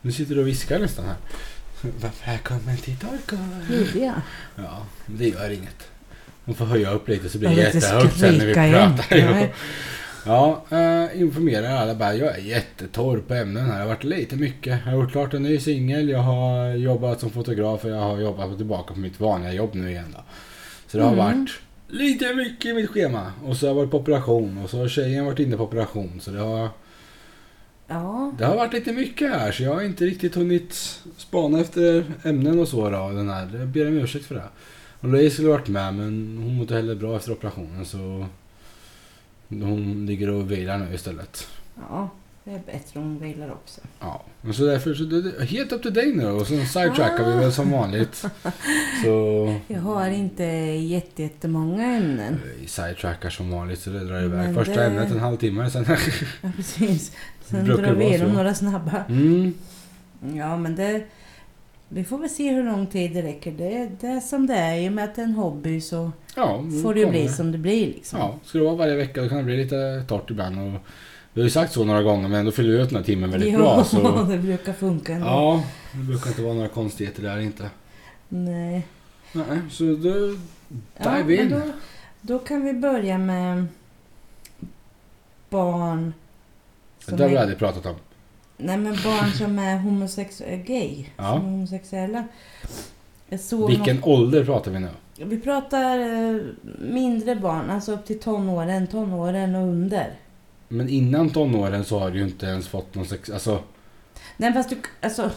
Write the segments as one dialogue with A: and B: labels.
A: Nu sitter du och viskar nästan här. Välkommen till Torkar.
B: Gjorde jag?
A: Ja, men det gör inget. Hon får höja upp lite så blir
B: Jag
A: det
B: vet, det
A: jättehögt sen när vi
B: skrika igen.
A: pratar. Ja, ja eh, informerar alla bara. Jag är jättetorr på ämnen här. Det har varit lite mycket. Jag har gjort klart en ny singel. Jag har jobbat som fotograf och jag har jobbat tillbaka på mitt vanliga jobb nu igen då. Så det har
B: Mm.
A: varit lite mycket i mitt schema. Och så har jag varit på operation och så har tjejen varit inne på operation. Så det har,
B: Ja.
A: det har varit lite mycket här så jag har inte riktigt hunnit spana efter ämnen och så då, den här. Jag ber om ursäkt för det. Och Louise skulle varit med men hon mår inte heller bra efter operationen så hon ligger och vilar nu istället.
B: ja. Det är bättre om hon vilar också.
A: Ja, och så därför så det, det- helt upp till dig nu och sen sidetrackar vi väl som vanligt. Så
B: Ah. Jag har inte jätte- jättemånga ämnen.
A: vi sidetrackar som vanligt så det drar iväg.
B: Men
A: Första
B: det-
A: ämnet en halvtimme sen.
B: Ja, precis. Sen
A: Brukar
B: drar
A: det
B: vi
A: vara
B: igenom
A: så?
B: några snabba.
A: Mm.
B: Ja, men det... Vi får väl se hur lång tid det räcker. Det, det är som det är. I och med att det är en hobby så
A: Ja, nu
B: får det ju bli
A: Mm, kommer-
B: som det blir liksom.
A: Ja, ska det vara varje vecka då kan det bli lite torrt ibland. Och vi har ju sagt så några gånger men då fyller vi ut den här timmen väldigt
B: Jo,
A: bra. Så,
B: det brukar funka ändå.
A: ja, det brukar inte vara några konstigheter där inte.
B: Nej.
A: Nej, så då
B: Ja,
A: dive
B: men
A: in.
B: då, då kan vi börja med barn
A: Det
B: som
A: har vi
B: är
A: aldrig pratat om.
B: Nej men barn som är homosexuella, gay,
A: Ja.
B: som är homosexuella. Jag såg
A: Vilken ålder pratar vi nu?
B: Någon, vi pratar eh, mindre barn, alltså upp till tonåren, tonåren och under.
A: Men innan tonåren så har du ju inte ens fått någon sex... Alltså,
B: Nej fast du, alltså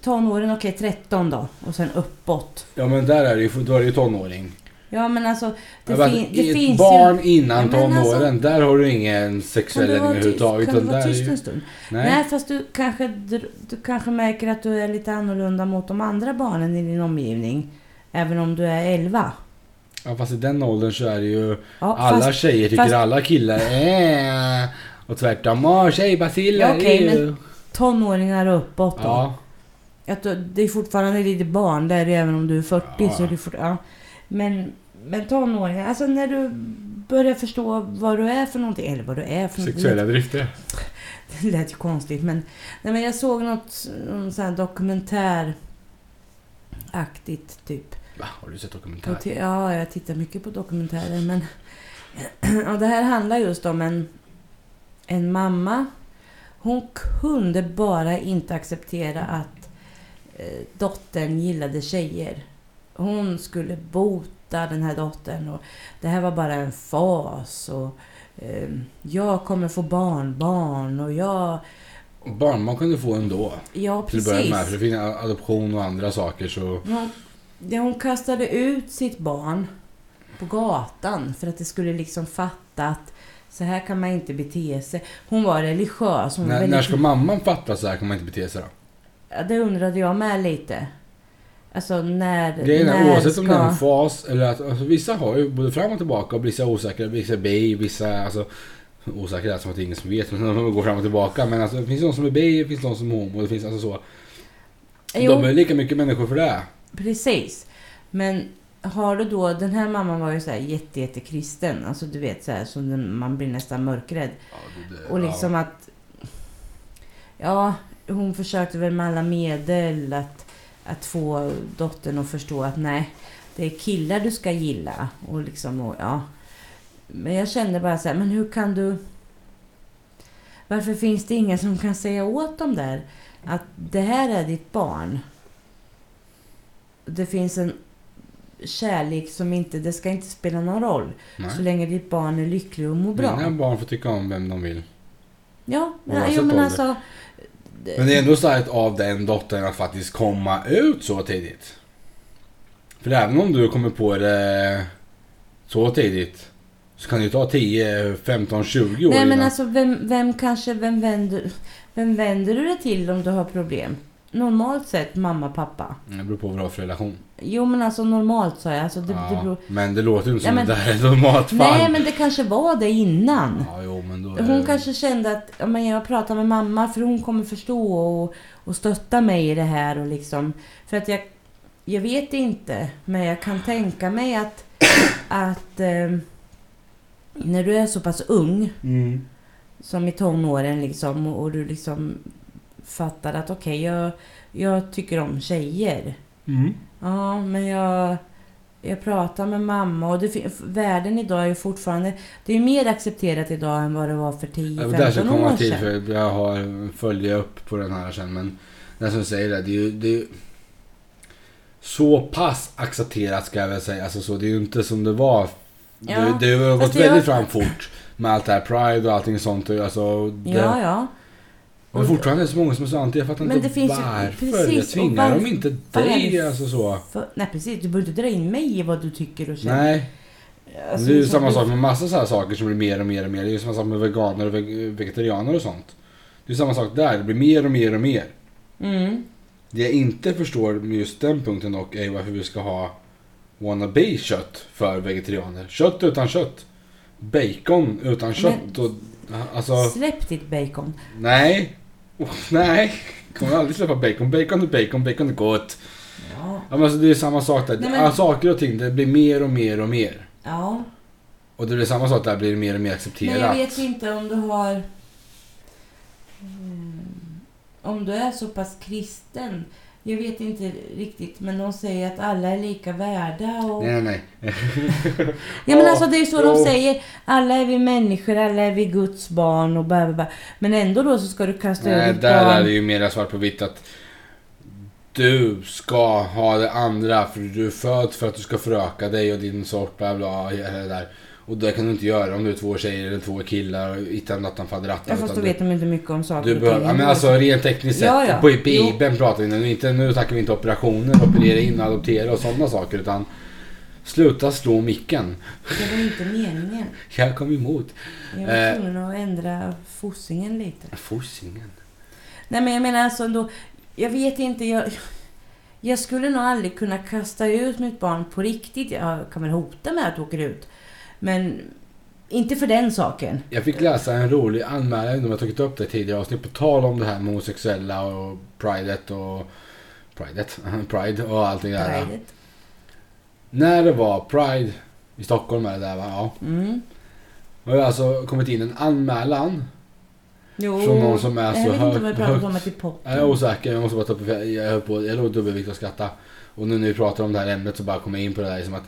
B: tonåren, okej 13 då och sen uppåt.
A: ja men där är det ju, då är det ju tonåring.
B: Ja men alltså det,
A: Men
B: fin,
A: ett
B: det finns ju...
A: barn innan
B: Ja, men
A: tonåren,
B: alltså-
A: där har du ingen
B: Kan
A: sexuell
B: du
A: läggning
B: vara tyst, kan
A: överhuvudtaget.
B: du
A: utan
B: vara
A: där är
B: tyst
A: ju-
B: en stund? Nej.
A: Nej,
B: fast du kanske, dr- du kanske märker att du är lite annorlunda mot de andra barnen i din omgivning. Även om du är 11.
A: ja, fast i den åldern så är det ju...
B: Ja,
A: Alla
B: fast-
A: tjejer tycker
B: fast-
A: alla killar är... Och tvärtom, åh tjejbaciller.
B: Ja, okej,
A: det är ju-
B: tonåringar och uppåt då.
A: Ja,
B: Att du, det är fortfarande lite barn där även om du är 40
A: Ja.
B: så är det fort, ja. Men, men tonåringar, alltså när du börjar förstå vad du är för någonting, eller vad du är för någonting.
A: sexuella drifter.
B: Det lät ju konstigt men, nej, men jag såg något någon sån här dokumentäraktigt typ.
A: Va, har du sett dokumentär?
B: Jag ti- ja, jag tittar mycket på dokumentärer men ja, det här handlar just om en, en mamma. Hon kunde bara inte acceptera att eh, dottern gillade tjejer. Hon skulle bota den här dottern och det här var bara en fas och eh, jag kommer få barnbarn och jag...
A: Barnbarn kan du få ändå.
B: Ja,
A: Till att börja med, för
B: precis.
A: det finns adoption och andra saker så...
B: Hon, det hon kastade ut sitt barn på gatan för att det skulle liksom fatta att så här kan man inte bete sig. Hon var religiös. Hon var
A: När,
B: väldigt,
A: när ska mamman fatta så här kan man inte bete sig då?
B: Ja, Det undrade jag med lite. Alltså när...
A: Grejen är
B: när
A: oavsett om det är en fas eller att alltså, vissa har ju både fram och tillbaka och vissa är osäkra, vissa är bi, vissa alltså osäkra är som att det är ingen som vet men de går fram och tillbaka men alltså det finns någon som är bi, det finns någon som är homo, det finns alltså så.
B: Jo,
A: De är lika mycket människor för det.
B: precis. Men har du då... Den här mamman var ju så här jätte, jätte kristen. Alltså du vet så här som den- man blir nästan mörkrädd. Och liksom att... Ja, hon försökte väl med alla medel att, att få dottern att förstå att nej, det är killar du ska gilla. Och liksom, och, ja. Men jag kände bara så här, men hur kan du... Varför finns det ingen som kan säga åt dem där att det här är ditt barn? Det finns en kärlek som inte, det ska inte spela någon roll
A: Nej.
B: så länge ditt barn är lycklig och mår bra.
A: Mina barn får tycka om vem de vill.
B: Ja, men,
A: Oavsett
B: jo, men
A: ålder.
B: alltså...
A: Men det är ändå starkt av den dottern att faktiskt komma ut så tidigt. För även om du kommer på det så tidigt så kan det ju ta 10, 15, 20 år
B: Nej men
A: innan.
B: alltså vem, vem kanske, vem vänder, vem vänder du dig till om du har problem? Normalt sett mamma, pappa.
A: Det beror på vad du har för relation.
B: Jo men alltså normalt sa jag, alltså det,
A: ja,
B: det beror...
A: Men det låter ju inte
B: Ja,
A: som
B: men-
A: det där är ett normalt fall.
B: Nej men det kanske var det innan.
A: Ja, jo, men då är
B: Hon
A: det-
B: kanske kände att ja, men jag pratar med mamma för hon kommer förstå och, och stötta mig i det här och liksom... För att jag... Jag vet inte, men jag kan tänka mig att... att eh, när du är så pass ung
A: Mm.
B: som i tonåren liksom och och du liksom fattade att okej, jag, jag tycker om tjejer.
A: Mm.
B: Ja, men jag, jag pratar med mamma och det, fin- världen idag är ju fortfarande... Det är ju mer accepterat idag än vad det var för
A: Ja, men där ska
B: 10-15
A: jag komma
B: år
A: till
B: sedan.
A: för jag har en följa upp på den här sen men den som säger det, det är ju, det är ju så pass accepterat ska jag väl säga. Alltså så, det är ju inte som det var.
B: Ja,
A: Det, det har gått
B: fast det
A: väldigt
B: har-
A: fram fort med allt det här Pride och allting sånt. och Alltså, det,
B: Ja, ja.
A: Men fortfarande är det så många som är så anti. Jag fattar
B: Men
A: inte
B: det finns ju-
A: varför.
B: precis,
A: jag
B: och
A: tvingar dem
B: varf-
A: inte dig
B: varf-
A: alltså så.
B: För, nej, precis. Du behöver inte dra in mig i vad du tycker och känner.
A: Nej,
B: Alltså,
A: det är ju
B: liksom,
A: samma
B: du-
A: sak med massa så här saker som blir mer och mer och mer. Det är ju samma sak med veganer och veg- vegetarianer och sånt. Det är samma sak där, det blir mer och mer och mer.
B: Mm.
A: Det jag inte förstår med just den punkten dock är varför vi ska ha wannabe kött för vegetarianer. Kött utan kött. Bacon utan kött. Och, alltså,
B: Släpp ditt bacon.
A: nej. Oh, nej. Kommer aldrig släppa bacon. Bacon är bacon, bacon är gott.
B: Ja.
A: Ja, men alltså, det är samma sak där.
B: Nej, men-
A: Ah, Saker och ting, det blir mer och mer och mer.
B: ja.
A: Och det blir samma sak där, blir det mer och mer accepterat.
B: Men jag vet ju inte om du har... Mm, Om du är så pass kristen. Jag vet inte riktigt, men de säger att alla är lika värda. Och...
A: Nej, nej, nej.
B: Ja men
A: Ja,
B: alltså det är ju så
A: jo.
B: de säger. Alla är vi människor, alla är vi Guds barn och bla bla bla. Men ändå då så ska du kasta
A: Nej,
B: över
A: där är
B: barn.
A: det ju mer svart på vitt att du ska ha det andra för du är född för att du ska föröka dig och din sort bla bla. hela det Där. Och det kan du inte göra om du är två tjejer eller två killar och hittar nattan
B: Ja,
A: faderattan.
B: fast då
A: utan
B: vet de inte mycket om saker
A: Du, du
B: och
A: behöver,
B: ting.
A: ja, men alltså rent tekniskt sett,
B: Ja, ja.
A: på i Bibeln pratar vi nu, inte, nu snackar vi inte operationer, operera in, adoptera och sådana saker utan sluta slå micken.
B: Det var inte meningen.
A: Jag kom emot.
B: Jag var
A: Eh.
B: tvungen att ändra fossingen lite.
A: Fossingen.
B: Nej men jag menar alltså ändå, jag vet inte, jag, jag skulle nog aldrig kunna kasta ut mitt barn på riktigt. Jag kan väl hota med att åka ut. Men inte för den saken.
A: Jag fick läsa en rolig anmälan, jag vet inte om jag tagit upp det i tidigare avsnitt, på tal om det här med homosexuella och pridet och... Pridet? Pride och allt det där.
B: Pridet.
A: När det var Pride i Stockholm eller där va? Ja.
B: Mm.
A: Och det har alltså kommit in en anmälan.
B: Jo,
A: Från någon som alltså är
B: jag
A: så
B: vet inte
A: högt-
B: om vi pratat om
A: högt-
B: att det är pop.
A: Jag är osäker, jag måste bara ta upp Jag höll på, jag låg dubbelvikt och skratta. Och nu när vi pratar om det här ämnet så bara kommer jag in på det där liksom att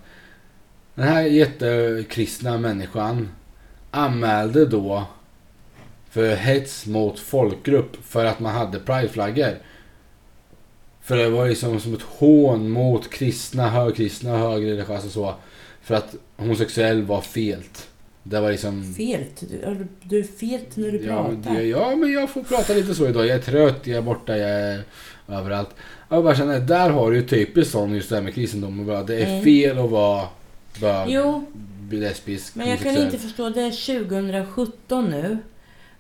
A: den här jättekristna människan anmälde då för hets mot folkgrupp för att man hade prideflaggor. För det var liksom som ett hån mot kristna, högkristna och högreligiösa och så. För att homosexuell var felt. Det var liksom...
B: Felt. Du, har du- du är felt när du
A: Ja men,
B: pratar.
A: det, ja, men jag får prata lite så idag. Jag är trött, jag är borta, jag är överallt. Jag bara känner, där har du ju typiskt sån just det här med kristendom och bara, det är
B: Mm.
A: fel att vara bög,
B: Jo,
A: lesbisk,
B: men jag kan
A: homosexuell.
B: inte förstå. Det är 2017 nu.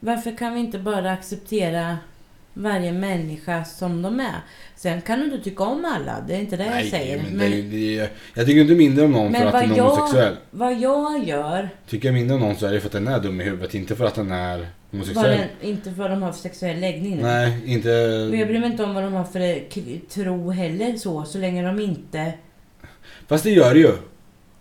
B: Varför kan vi inte bara acceptera varje människa som de är? Sen kan du inte tycka om alla, det är inte det jag
A: Nej,
B: säger.
A: men
B: Men,
A: det är ju- det är, jag tycker inte mindre om någon
B: Men
A: för att
B: vad
A: den är
B: jag-
A: homosexuell.
B: vad jag gör,
A: Tycker jag mindre om någon så är det för att den är dum i huvudet, inte för att den är
B: vad
A: homosexuell.
B: den, inte vad de har för sexuell läggning.
A: Nej, inte...
B: Och jag bryr mig inte om vad de har för eh, k- tro heller så, så länge de inte...
A: Fast det gör det ju.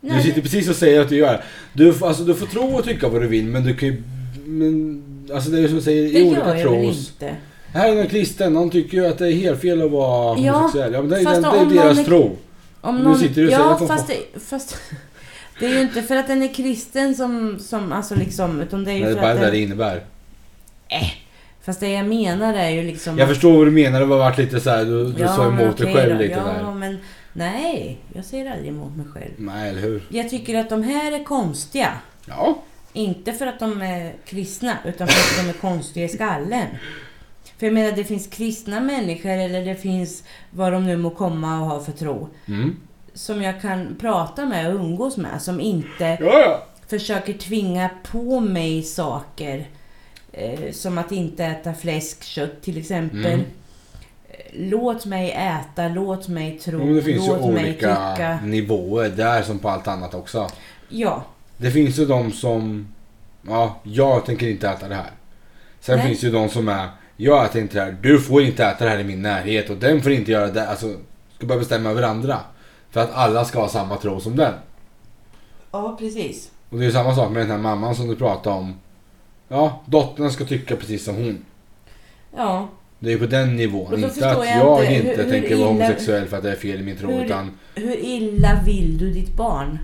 B: Nej,
A: du sitter precis och säger att du gör. Du, får- alltså, du får tro och tycka vad du vill men du kan ju... Men, alltså det är ju som du säger,
B: det
A: i
B: gör
A: olika
B: jag väl
A: tros...
B: inte.
A: Här är någon kristen, någon tycker ju att det är helt fel att vara
B: Ja,
A: homosexuell. Ja, men det, är-
B: fast
A: det, det
B: om
A: är deras
B: någon är-
A: tro.
B: Om
A: Nu
B: någon,
A: sitter du och
B: ja,
A: säger att de
B: fast, det, fast det är ju inte för att den är kristen som, som alltså liksom, utan det är
A: Men
B: ju
A: det är
B: för
A: bara
B: att
A: det
B: den,
A: det innebär.
B: Fast det jag menar är ju liksom...
A: Jag förstår vad du menar, det var varit lite så här, du, du sa
B: men
A: emot dig
B: okej
A: själv
B: då.
A: lite
B: ja,
A: där.
B: men nej, jag säger aldrig emot mig själv.
A: Nej, eller hur?
B: Jag tycker att de här är konstiga.
A: Ja.
B: Inte för att de är kristna, utan för att de är konstiga i skallen. För jag menar, det finns kristna människor, eller det finns vad de nu må komma och ha för tro,
A: Mm.
B: som jag kan prata med och umgås med, som inte
A: Ja, ja.
B: försöker tvinga på mig saker. Eh, som att inte äta fläsk, kött till exempel.
A: Mm.
B: Eh, Låt mig äta, låt mig tro,
A: Jo, men Mm, det finns ju
B: låt mig
A: olika Mm.
B: tycka.
A: nivåer där som på allt annat också.
B: Ja,
A: Det finns ju de som... Ja, jag tänker inte äta det här. Sen
B: Nej.
A: finns ju de som är... Jag äter inte det här. Du får inte äta det här i min närhet. Och den får inte göra det. Alltså, ska börja bestämma över andra. För att alla ska ha samma tro som den.
B: ja precis.
A: Och det är ju samma sak med den här mamman som du pratade om. Ja, dottern ska tycka precis som hon.
B: Ja,
A: Det är på den nivån.
B: Men då
A: Inte
B: förstår
A: att
B: jag
A: jag
B: inte
A: inte
B: hur- hur
A: tänker vara
B: illa-
A: homosexuell för att det är fel i min tro.
B: Hur-
A: Utan,
B: Hur illa vill du ditt barn?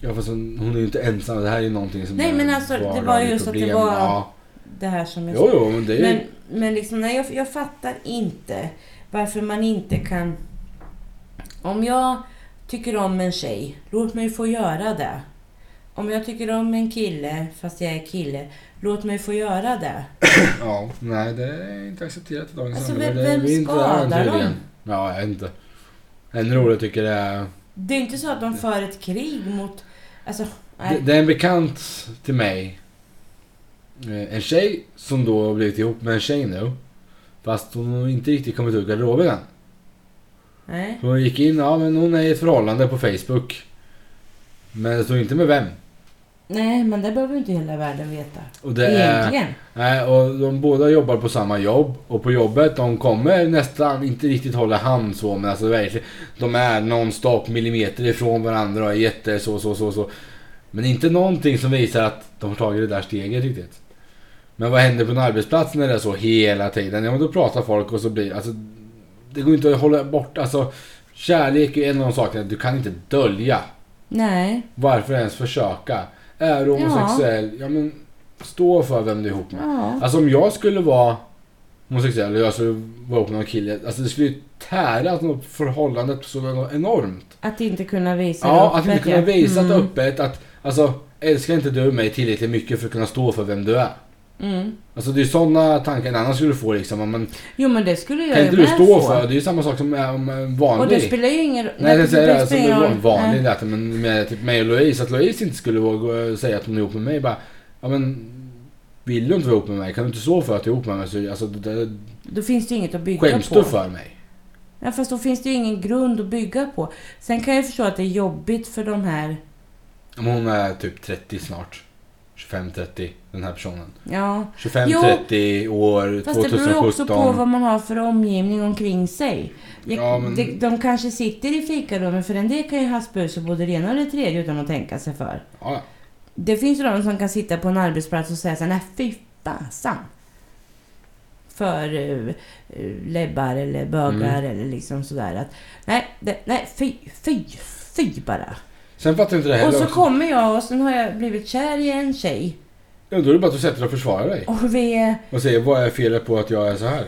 A: ja, fast hon hon är ju inte ensam. Det här är ju någonting som
B: Nej,
A: är
B: men alltså, det var ju
A: vardagligt
B: just att det
A: problem.
B: var-
A: Ja.
B: Det här som jag
A: Jo, jo, men det är
B: Men,
A: ju...
B: men liksom, nej, jag, jag fattar inte varför man inte kan... Om jag tycker om en tjej, låt mig få göra det. Om jag tycker om en kille, fast jag är kille, låt mig få göra det.
A: Ja, nej, det är inte accepterat i dagens
B: Alltså,
A: samhälle.
B: vem-
A: Det-
B: vem
A: vi är inte där än,
B: skadar dem?
A: tydligen. Ja, jag vet inte. Ännu roligare tycker jag det är...
B: Det är inte så att de för ett krig mot... Alltså, nej.
A: Det, det är en bekant till mig. Eh, En tjej som då har blivit ihop med en tjej nu. Fast hon har inte riktigt kommit ur garderoben än.
B: nej.
A: Hon gick in, ja men hon är i ett förhållande på Facebook. Men det stod inte med vem.
B: nej, men det behöver inte hela världen veta.
A: Och det är,
B: Egentligen.
A: nej, och de båda jobbar på samma jobb. Och på jobbet, de kommer nästan, inte riktigt hålla hand så men alltså verkligen. De är nonstop millimeter ifrån varandra och är jätte så så så så. Men inte någonting som visar att de har tagit det där steget riktigt. Men vad händer på en arbetsplats när det är så hela tiden? Ja men då pratar folk och så blir alltså. Det går inte att hålla bort, alltså. Kärlek är en av de sakerna du kan inte dölja.
B: Nej.
A: Varför ens försöka? Är du homosexuell, ja. men stå för vem du är ihop med.
B: Ja.
A: Alltså om jag skulle vara homosexuell och jag skulle vara ihop med någon kille, alltså det skulle ju tära något förhållandet så något enormt.
B: Att inte kunna visa
A: Ja,
B: det
A: att inte
B: öppet,
A: kunna
B: ja.
A: visa det
B: Mm.
A: öppet att alltså älskar inte du mig tillräckligt mycket för att kunna stå för vem du är?
B: Mm.
A: Alltså det är sådana tankar en annan skulle få liksom. Men
B: Jo, men det skulle jag
A: kan
B: ju
A: inte du
B: med
A: stå
B: få.
A: för? Det är ju samma sak som är om en vanlig.
B: Och det spelar ju ingen roll.
A: Nej, jag
B: det
A: säger det. Alltså,
B: spelar
A: det
B: ingen
A: var
B: roll.
A: en
B: Nej.
A: vanlig lätt, men med typ mig och Louise, att Louise inte skulle våga eh, säga att hon är ihop med mig. Bara, ja men vill du inte vara ihop med mig? Kan du inte stå för att du är ihop med mig? Så, alltså, det, det,
B: Då finns det ju inget att bygga
A: skäms
B: på.
A: du för mig?
B: Ja, fast då finns det ju ingen grund att bygga på. Sen kan jag förstå att det är jobbigt för de här...
A: Men hon är typ 30 snart. 25-30, den här personen.
B: Ja,
A: 25-30 år,
B: fast det beror ju också på
A: 2017.
B: vad man har för omgivning omkring sig. Jag,
A: Ja, men-
B: de, de kanske sitter i fikarummet, för en del kan ju haspa ur sig både det ena och det tredje utan att tänka sig för.
A: Ja, ja.
B: Det finns ju de som kan sitta på en arbetsplats och säga så här, nej fy fasan. För uh, lebbar eller bögar
A: Mm.
B: eller liksom sådär. Att, nej, det, nej, fy, fy, fy bara.
A: Sen fattar jag inte det
B: Och
A: heller.
B: så
A: också.
B: kommer jag och sen har jag blivit kär i en tjej.
A: Ja, då är det bara att du sätter dig och försvarar dig.
B: Och vi är...
A: Och säger, vad är felet på att jag är så här?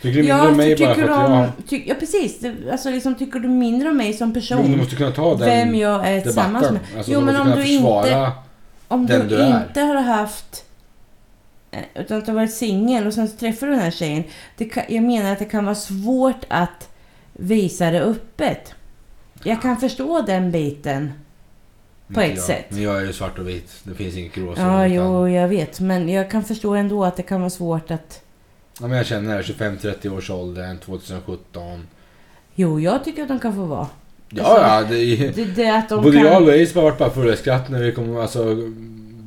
A: Tycker du mindre
B: Ja,
A: om mig bara för
B: tycker
A: att
B: du
A: jag...
B: om... Ty, ja, precis. Det- Alltså liksom, tycker du mindre om mig som
A: Jo, men du
B: person?
A: måste kunna ta den...
B: Vem jag är tillsammans
A: debatten.
B: med?
A: Alltså,
B: Jo,
A: de
B: men
A: måste
B: om
A: kunna
B: du inte...
A: försvara-
B: Om
A: den
B: du,
A: du är.
B: inte har haft... eh, Utan att du har varit singel och sen så träffar du den här tjejen. Det kan, jag menar att det kan vara svårt att visa det öppet. Jag kan förstå den biten. på
A: Inte
B: ett
A: jag.
B: sätt.
A: Men jag är ju svart och vit. Det finns inget gråzon.
B: Ja,
A: utan-
B: jo, jag vet. Men jag kan förstå ändå att det kan vara svårt att...
A: Ja, men jag känner det. 25-30 års åldern, 2017.
B: Jo, jag tycker att de kan få vara.
A: Ja,
B: Alltså,
A: ja. Det är...
B: Det, det att de
A: Både
B: kan...
A: jag och Louise har varit bara fulla i skratt när vi kom. Alltså,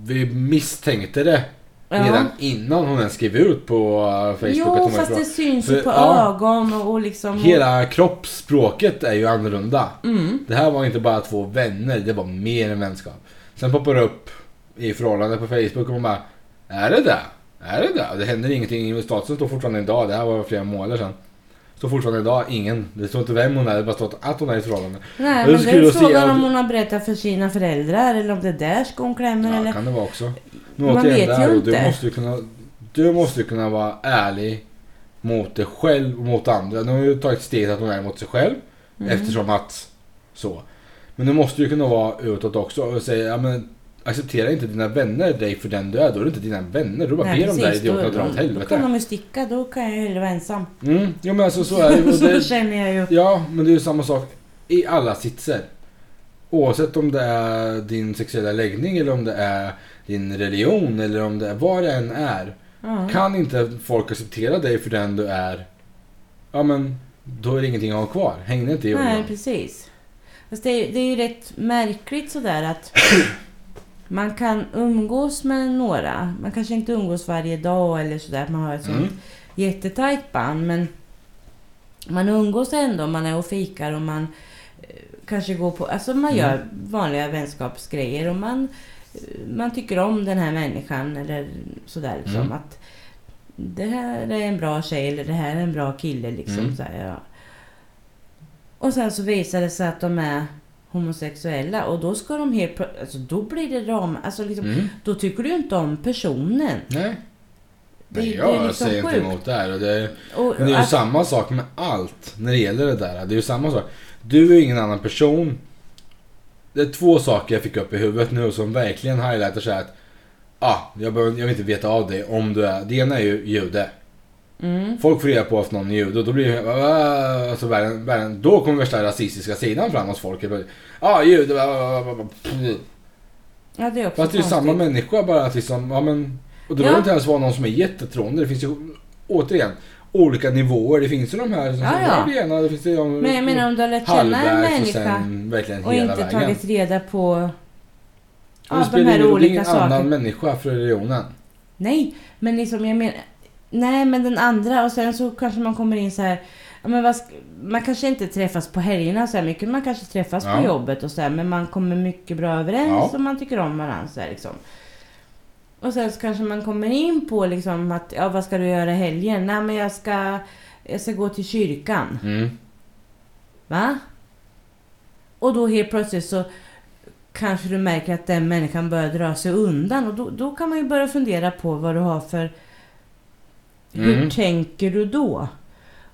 A: vi misstänkte det redan innan hon ens skrev ut på uh, Facebook att
B: Jo,
A: hon var
B: fast
A: bra.
B: det syns
A: För-
B: ju på
A: ja.
B: ögon och, och liksom...
A: Hela kroppsspråket är ju annorlunda.
B: Mm.
A: Det här var inte bara två vänner, det var mer än vänskap. Sen poppar det upp i förhållande på Facebook och man bara Är det det? Är det det? Och Det händer ingenting. Statusen står fortfarande idag. Det här var flera månader sedan. Står fortfarande idag. Ingen. Det står inte vem hon är. Det bara står att hon är i ett förhållande.
B: Nej, men
A: Det
B: det
A: skulle
B: är
A: jag se
B: frågan
A: av-
B: om hon har berättat för sina föräldrar eller om det är där skon klämmer
A: Ja,
B: eller...
A: kan det vara också. Men
B: Man
A: återigen,
B: vet
A: det
B: ju
A: här, och du
B: inte.
A: måste ju kunna Du måste ju kunna vara ärlig mot dig själv och mot andra. Nu har ju tagit steget att hon är mot sig själv.
B: Mm.
A: Eftersom att så. Men du måste ju kunna vara utåt också och säga ja, men acceptera inte dina vänner dig för den du är. Då är du inte dina vänner. Du bara
B: Nej,
A: ber de där
B: precis.
A: idioterna att
B: då,
A: dra åt
B: då kan
A: helvete.
B: de ju sticka, då kan jag ju hellre vara ensam.
A: Mm, jo men alltså så är det ju. Och
B: så
A: det.
B: känner jag ju.
A: Ja, men det är ju samma sak i alla sitser. Oavsett om det är din sexuella läggning eller om det är din religion eller om det är vad det än är.
B: Ja.
A: Kan inte folk acceptera dig för den du är, ja men då är det ingenting att ha kvar. Häng inte i
B: Nej,
A: jorden.
B: precis. Fast det är, det är ju rätt märkligt sådär att man kan umgås med några. Man kanske inte umgås varje dag eller sådär, att man har ett sånt
A: Mm.
B: jättetajt band men man umgås ändå, man är och fikar och man eh, kanske går på, alltså man
A: Mm.
B: gör vanliga vänskapsgrejer och man, eh, man tycker om den här människan eller sådär liksom
A: Mm.
B: att det här är en bra tjej eller det här är en bra kille liksom.
A: Mm.
B: Så här, ja. Och sen så visar det sig att de är homosexuella och då ska de helt plö- alltså då blir det ram, alltså liksom,
A: Mm.
B: då tycker du inte om personen.
A: Nej.
B: Det-
A: Nej,
B: det
A: jag
B: är liksom
A: säger inte
B: sjukt.
A: emot det här. och Det,
B: Och,
A: det är ju
B: att-
A: samma sak med allt när det gäller det där. Det är ju samma sak. Du är ingen annan person. Det är två saker jag fick upp i huvudet nu som verkligen highlightar så här att ah, jag, behöver, jag vill inte veta av dig om du är... Det ena är ju jude.
B: mm,
A: Folk får reda på att någon är jude och då blir det... ah, Alltså, världen, världen, då kommer värsta rasistiska sidan fram hos folk. Ja, ah, jude... bla, bla, bla, bla, bla.
B: ja, det är också
A: Fast det är ju
B: konstigt.
A: samma människa bara att liksom, ja men... Och det behöver
B: Ja.
A: inte ens vara någon som är jättetrående. Det finns ju, återigen, olika nivåer. Det finns ju de här som
B: Ja,
A: ja,
B: ja.
A: ja. ena, det finns ju de...
B: Men jag menar om du har lärt känna en
A: halvvägs och
B: människa
A: sen verkligen
B: och
A: hela
B: inte
A: vägen.
B: tagit reda på
A: Och det
B: ja, de
A: spelar ingen
B: här
A: roll, det är
B: olika
A: ingen
B: sakerna.
A: annan människa för religionen.
B: Nej, men liksom jag menar... Nej, men den andra och sen så kanske man kommer in så här... Ja, men vad, sk- man kanske inte träffas på helgerna så här mycket, man kanske träffas
A: Ja.
B: på jobbet och så här, men man kommer mycket bra överens
A: Ja.
B: och man tycker om varandra så här, liksom. Och sen så kanske man kommer in på liksom att, ja vad ska du göra i helgen? Nej men jag ska, jag ska gå till kyrkan.
A: Mm.
B: Va? Och då helt plötsligt så kanske du märker att den människan börjar dra sig undan och då, då kan man ju börja fundera på vad du har för... Hur
A: Mm.
B: tänker du då?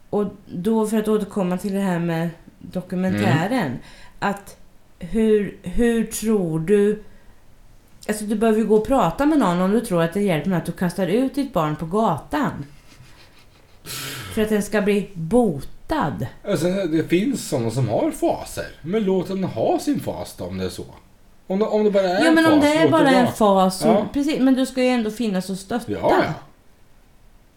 B: Och då för att återkomma till det här med dokumentären. Att hur, hur tror du... Alltså du behöver ju gå och prata med någon om du tror att det hjälper med att du kastar ut ditt barn på gatan. För att den ska bli botad.
A: Alltså, det finns sådana som har faser. Men låt den ha sin fas då, om det är så. Om det, om det bara är
B: Ja
A: en
B: men
A: fas,
B: om det är
A: låt
B: bara en
A: vara.
B: fas, så,
A: Ja.
B: precis, men du ska ju ändå finnas och stötta.
A: Ja, ja.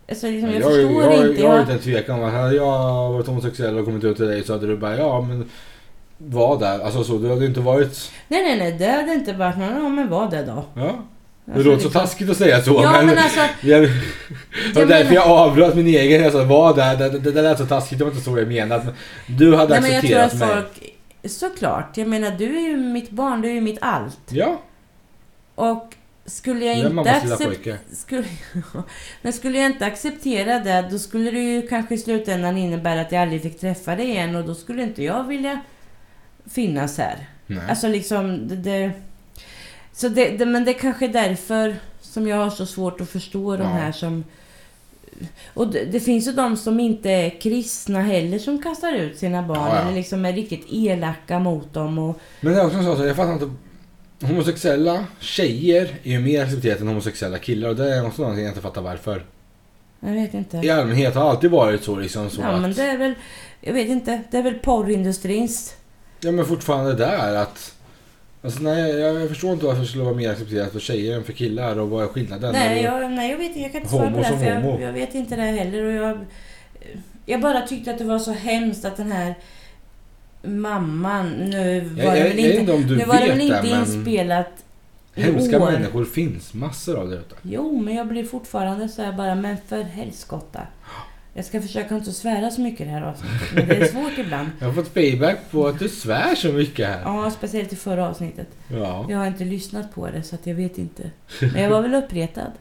B: Alltså, liksom, jag,
A: jag,
B: förstår
A: jag,
B: inte.
A: Jag har
B: Jag,
A: inte en tvekan om att hade jag varit homosexuell och kommit ut till dig så hade du bara ja men var där. Alltså så, du hade inte varit...
B: Nej nej nej, det hade inte varit någon, ja men vad det då?
A: Ja. Det
B: Alltså,
A: låter så
B: liksom-
A: taskigt att säga så
B: Ja
A: men...
B: men alltså,
A: Jag, det var
B: men-
A: därför jag avbröt min egen. Jag sa var där, det, det, det lät så taskigt. Det var inte så jag menade. Men du
B: nej,
A: hade
B: men jag tror
A: accepterat
B: att
A: mig.
B: folk... Såklart, jag menar du är ju mitt barn, du är ju mitt allt.
A: Ja,
B: Och skulle jag
A: jag är
B: inte
A: mammas lilla
B: acceptera...
A: pojke.
B: Skulle, men skulle jag inte acceptera det, då skulle det ju kanske i slutändan innebära att jag aldrig fick träffa dig igen och då skulle inte jag vilja finnas här.
A: Nej.
B: Alltså liksom, det, det, så det, det, men det är kanske är därför som jag har så svårt att förstå de
A: Ja.
B: här som... Och det, det finns ju de som inte är kristna heller som kastar ut sina barn
A: Ja, ja.
B: eller liksom är riktigt elaka mot dem och...
A: Men det är också en sån sak, jag fattar inte. Homosexuella tjejer är ju mer accepterat än homosexuella killar och det är också någonting jag inte fattar varför.
B: Jag vet inte.
A: I allmänhet har alltid varit så liksom så
B: ja
A: att...
B: men det är väl... Jag vet inte. Det är väl porrindustrins...
A: Ja men fortfarande där att... Alltså nej, jag, jag förstår inte varför det skulle vara mer accepterat för tjejer än för killar och vad är skillnaden?
B: Nej
A: Eller-
B: jag, nej jag vet inte. Jag kan inte svara
A: Homo
B: på det här,
A: som
B: för jag,
A: homo.
B: jag vet inte det heller och jag... Jag bara tyckte att det var så hemskt att den här mamman... Nu var det
A: jag, jag,
B: väl
A: jag vet
B: inte
A: inte om du
B: nu var det väl
A: vet
B: inte
A: det men...
B: inspelat i
A: Hemska
B: år.
A: människor finns, massor av det ute.
B: Jo, men jag blir fortfarande så här bara, men för helskotta. Jag ska försöka inte svära så mycket i det här avsnittet, men det är svårt ibland.
A: Jag har fått feedback på att du svär så mycket här.
B: Ja, speciellt i förra avsnittet.
A: Ja.
B: Jag har inte lyssnat på det, så att jag vet inte. Men jag var väl uppretad.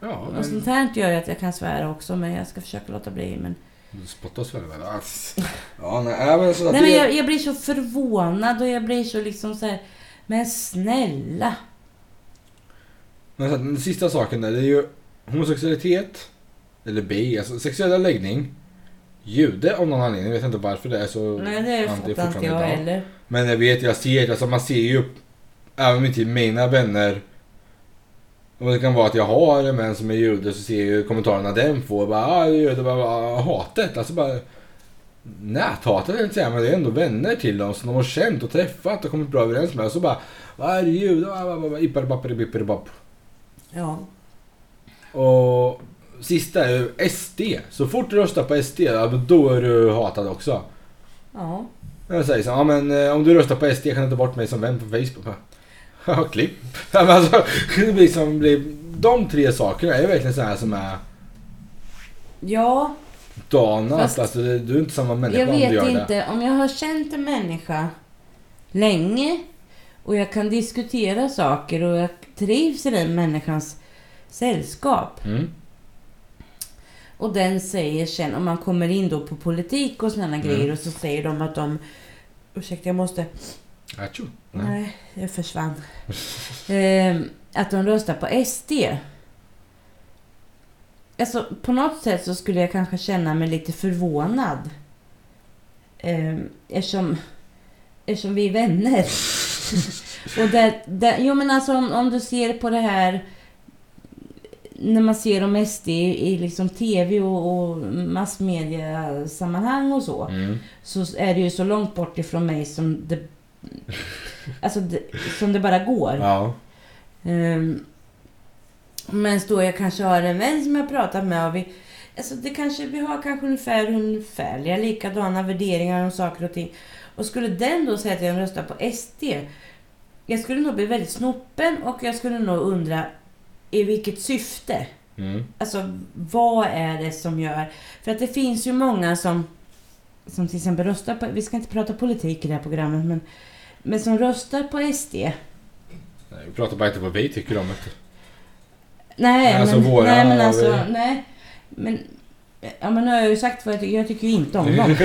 A: Ja,
B: Och sånt
A: men...
B: här gör ju att jag kan svära också, men jag ska försöka låta bli. Men...
A: Du spottar och svär väl? Ass. Ja, nej, nej, men så att
B: Nej, men
A: det-
B: jag, jag blir så förvånad och jag blir så liksom så här, men snälla.
A: Men så att den sista saken där, det är ju homosexualitet, eller bi, alltså sexuella läggning, jude om någon anledning, jag vet inte varför det är så.
B: Nej, det
A: anti-
B: fattar inte
A: fortfarande
B: jag
A: idag.
B: heller.
A: Men jag vet, jag ser, alltså man ser ju, även om inte mina vänner, och det kan vara att jag har en vän som är jude, så ser jag ju kommentarerna den får, bara ah, du är jude, bara, bara hatet, alltså bara näthatet vill jag inte säga, men det är ändå vänner till dem som de har känt och träffat och kommit bra överens med, och så bara, vad är du jude, Ah, bah, bah, bah, ipparibapparibipparibapp.
B: Ja.
A: Och sista är ju SD. Så fort du röstar på SD, ja, men då är du hatad också.
B: ja.
A: Jag säger så, ja men eh, om du röstar på SD kan du inte bort mig som vän på Facebook. Ja, klipp. Ja, men alltså, det blir som blir, de tre sakerna är verkligen så här som är
B: Ja,
A: dagen
B: Fast-
A: Fast, alltså, det- du är inte samma människa
B: jag
A: om du
B: vet
A: gör
B: inte.
A: det.
B: Om jag har känt en människa länge och jag kan diskutera saker och jag trivs i den människans sällskap.
A: Mm.
B: Och den säger sen, om man kommer in då på politik och sådana
A: Mm.
B: grejer och så säger de att de... Ursäkta, jag måste...
A: Achu.
B: Nej,
A: Nej.
B: jag försvann. Ehm, att de röstar på SD. Alltså, på något sätt så skulle jag kanske känna mig lite förvånad. Ehm, eftersom, eftersom vi är vänner. Och där, där, jo men alltså om, om du ser på det här när man ser om SD i, i liksom TV och, och massmediasammanhang och så
A: Mm.
B: så är det ju så långt bort ifrån mig som det, alltså det, som det bara går.
A: Ja.
B: Ehm, men då jag kanske har en vän som jag pratat med och vi, alltså det kanske, vi har kanske ungefär ungefärliga likadana värderingar om saker och ting. Och skulle den då säga att jag röstar på SD, jag skulle nog bli väldigt snopen och jag skulle nog undra i vilket syfte?
A: Mm.
B: Alltså vad är det som gör... För att det finns ju många som, som till exempel röstar på... Vi ska inte prata politik i det här programmet men, men som röstar på SD.
A: Nej, vi pratar bara inte vad vi tycker om det.
B: Nej,
A: Alltså,
B: men,
A: våra-
B: nej, men alltså,
A: vi-
B: nej. Men, ja, men nu har jag ju sagt vad jag tycker. Jag tycker ju inte om dem.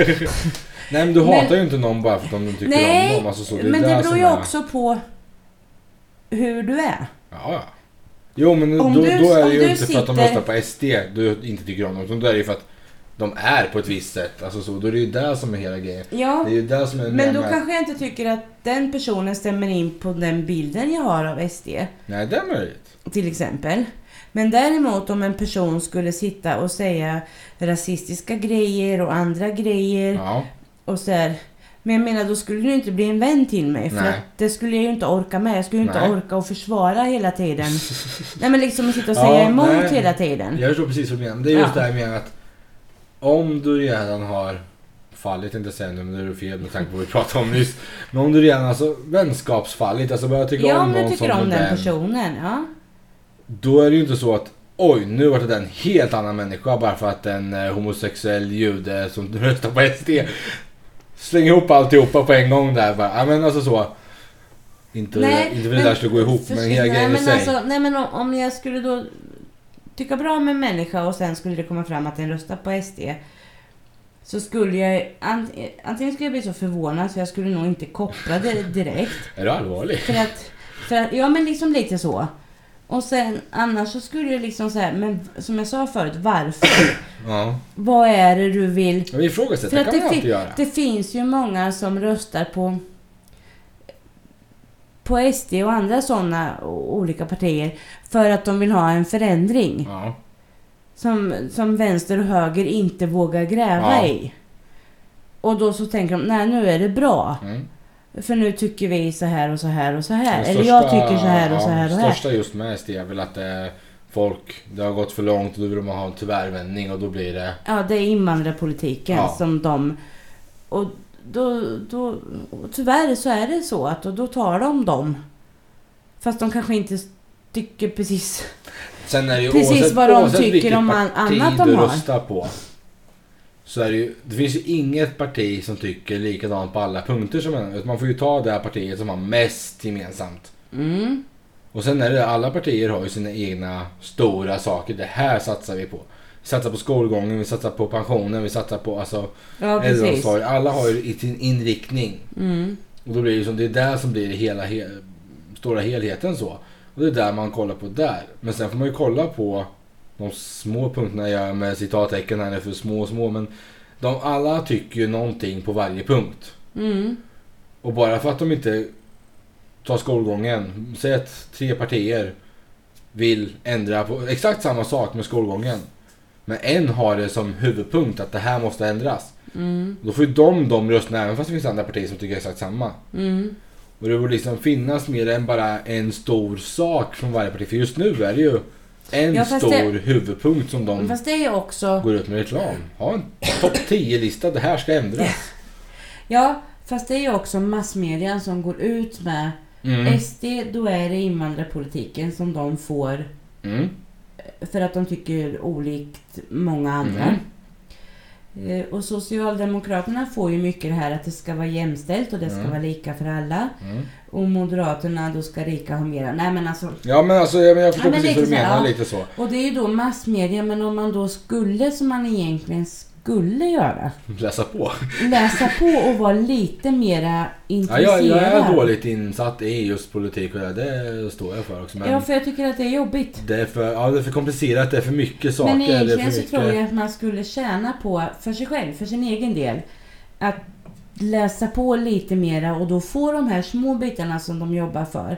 A: Nej men du
B: Men-
A: hatar ju inte någon bara för att de tycker
B: Nej,
A: om dem. Alltså, så
B: men det
A: där
B: beror
A: som
B: ju
A: är-
B: också på hur du är.
A: Ja, ja. Jo men
B: Om
A: då,
B: du-
A: då är
B: om
A: det
B: du
A: ju inte för att de
B: sitter-
A: röstar på SD du inte tycker om dem. Utan då är det ju för att de är på ett visst sätt. Alltså så. Då är det ju det som är hela grejen. Det
B: Ja,
A: är ju det som är
B: men då
A: med-
B: kanske jag inte tycker att den personen stämmer in på den bilden jag har av SD.
A: Nej det är möjligt.
B: till exempel. Men däremot om en person skulle sitta och säga rasistiska grejer och andra grejer
A: Ja.
B: och så här. Men jag menar, då skulle du inte bli en vän till mig för
A: Nej.
B: att det skulle jag ju inte orka med. Jag skulle ju inte
A: Nej.
B: orka att försvara hela tiden. nej men liksom att sitta och
A: Ja,
B: säga emot
A: nej.
B: hela tiden.
A: Jag förstår precis vad du menar. Det är just
B: Ja.
A: det här med att om du redan har fallit, inte säga nu men det är fel med tanke på vad vi pratade om nyss. Men om du redan, alltså vänskapsfallit, alltså börjar tycka
B: Ja,
A: om
B: om
A: någon
B: du
A: som
B: tycker om
A: modell,
B: den personen. Ja.
A: Då är det ju inte så att oj, nu vart det en helt annan människa bara för att en eh, homosexuell jude som röstar på SD slänger ihop alltihopa på en gång där bara. Ja men alltså så. Inte,
B: Nej,
A: inte för det
B: men-
A: där skulle gå ihop men
B: Förstå-
A: hela
B: nej,
A: grejen i
B: men
A: sig.
B: alltså, nej men om- om jag skulle då tycka bra om en människa och sen skulle det komma fram att den röstar på SD. Så skulle jag ant- antingen skulle jag bli så förvånad så jag skulle nog inte koppla det direkt.
A: Är du allvarlig?
B: För att, för att, ja men liksom lite så. Och sen annars så skulle jag liksom säga, men som jag sa förut, varför?
A: Ja.
B: Vad är det du vill
A: Men ifrågasätta
B: För att
A: kan man ju
B: det fi-
A: alltid göra.
B: det finns ju många som röstar på på SD och andra sådana olika partier för att de vill ha en förändring
A: Ja.
B: som, som vänster och höger inte vågar gräva
A: Ja.
B: i. Och då så tänker de, nej nu är det bra.
A: Mm.
B: För nu tycker vi så här och så här och så här.
A: Den
B: Eller jag tycker så här och så här och här.
A: största just med SD är väl att eh, folk, det har gått för långt och då vill de ha en tyvärrvändning och då blir det...
B: Ja, det är invandrarpolitiken
A: Ja.
B: som de... Och då, då, och tyvärr så är det så att och då tar de dem. Fast de kanske inte tycker precis...
A: Sen är det ju
B: Precis
A: oavsett,
B: vad de
A: oavsett
B: tycker
A: vilket
B: om all-
A: parti
B: annat de
A: du
B: har.
A: röstar på. Så är det ju, det finns ju inget parti som tycker likadant på alla punkter som en. Utan man får ju ta det här partiet som har mest gemensamt.
B: Mm.
A: Och sen är det, alla partier har ju sina egna stora saker. Det här satsar vi på. Vi satsar på skolgången, vi satsar på pensionen, vi satsar på alltså
B: Ja, precis.
A: äldreomsorg. Alla har ju i sin inriktning.
B: Mm.
A: Och då blir det ju som, det är där som blir det hela, he, stora helheten så. Och det är där man kollar på där. Men sen får man ju kolla på de små punkterna jag gör med citattecken här nu för små och små. Men de alla tycker ju någonting på varje punkt.
B: Mm.
A: Och bara för att de inte tar skolgången. Säg att tre partier vill ändra på exakt samma sak med skolgången. Men en har det som huvudpunkt att det här måste ändras.
B: Mm.
A: Då får ju de de rösterna även fast det finns andra partier som tycker exakt samma.
B: Mm.
A: Och det borde liksom finnas mer än bara en stor sak från varje parti. För just nu är det ju en
B: Ja, fast
A: stor
B: det-
A: huvudpunkt som de
B: Fast det är ju också...
A: går ut med reklam. Ha en topp 10-lista, det här ska ändras.
B: Ja, fast det är ju också massmedian som går ut med
A: Mm.
B: SD, då är det invandrarpolitiken som de får
A: Mm.
B: För att de tycker olikt många andra.
A: Mm.
B: Eh, Och Socialdemokraterna får ju mycket det här att det ska vara jämställt och det ska
A: Mm.
B: vara lika för alla.
A: Mm.
B: Och Moderaterna, då ska rika ha mera. Nej men alltså,
A: Ja men alltså jag, men jag förstår
B: Ja, men
A: precis vad
B: lite
A: du
B: så här,
A: menar,
B: ja.
A: lite så.
B: och det är ju då massmedia, men om man då skulle, som man egentligen skulle göra,
A: Läsa på.
B: läsa på och vara lite mera
A: Ja,
B: intresserad.
A: jag, jag är dåligt insatt i just politik och det, det står jag för också. Men
B: Ja, för jag tycker att det är jobbigt.
A: det, är för, ja, det är för komplicerat, det är för mycket saker.
B: Men
A: det är för
B: egentligen så
A: mycket...
B: tror jag att man skulle tjäna på, för sig själv, för sin egen del, att läsa på lite mera och då få de här små bitarna som de jobbar för.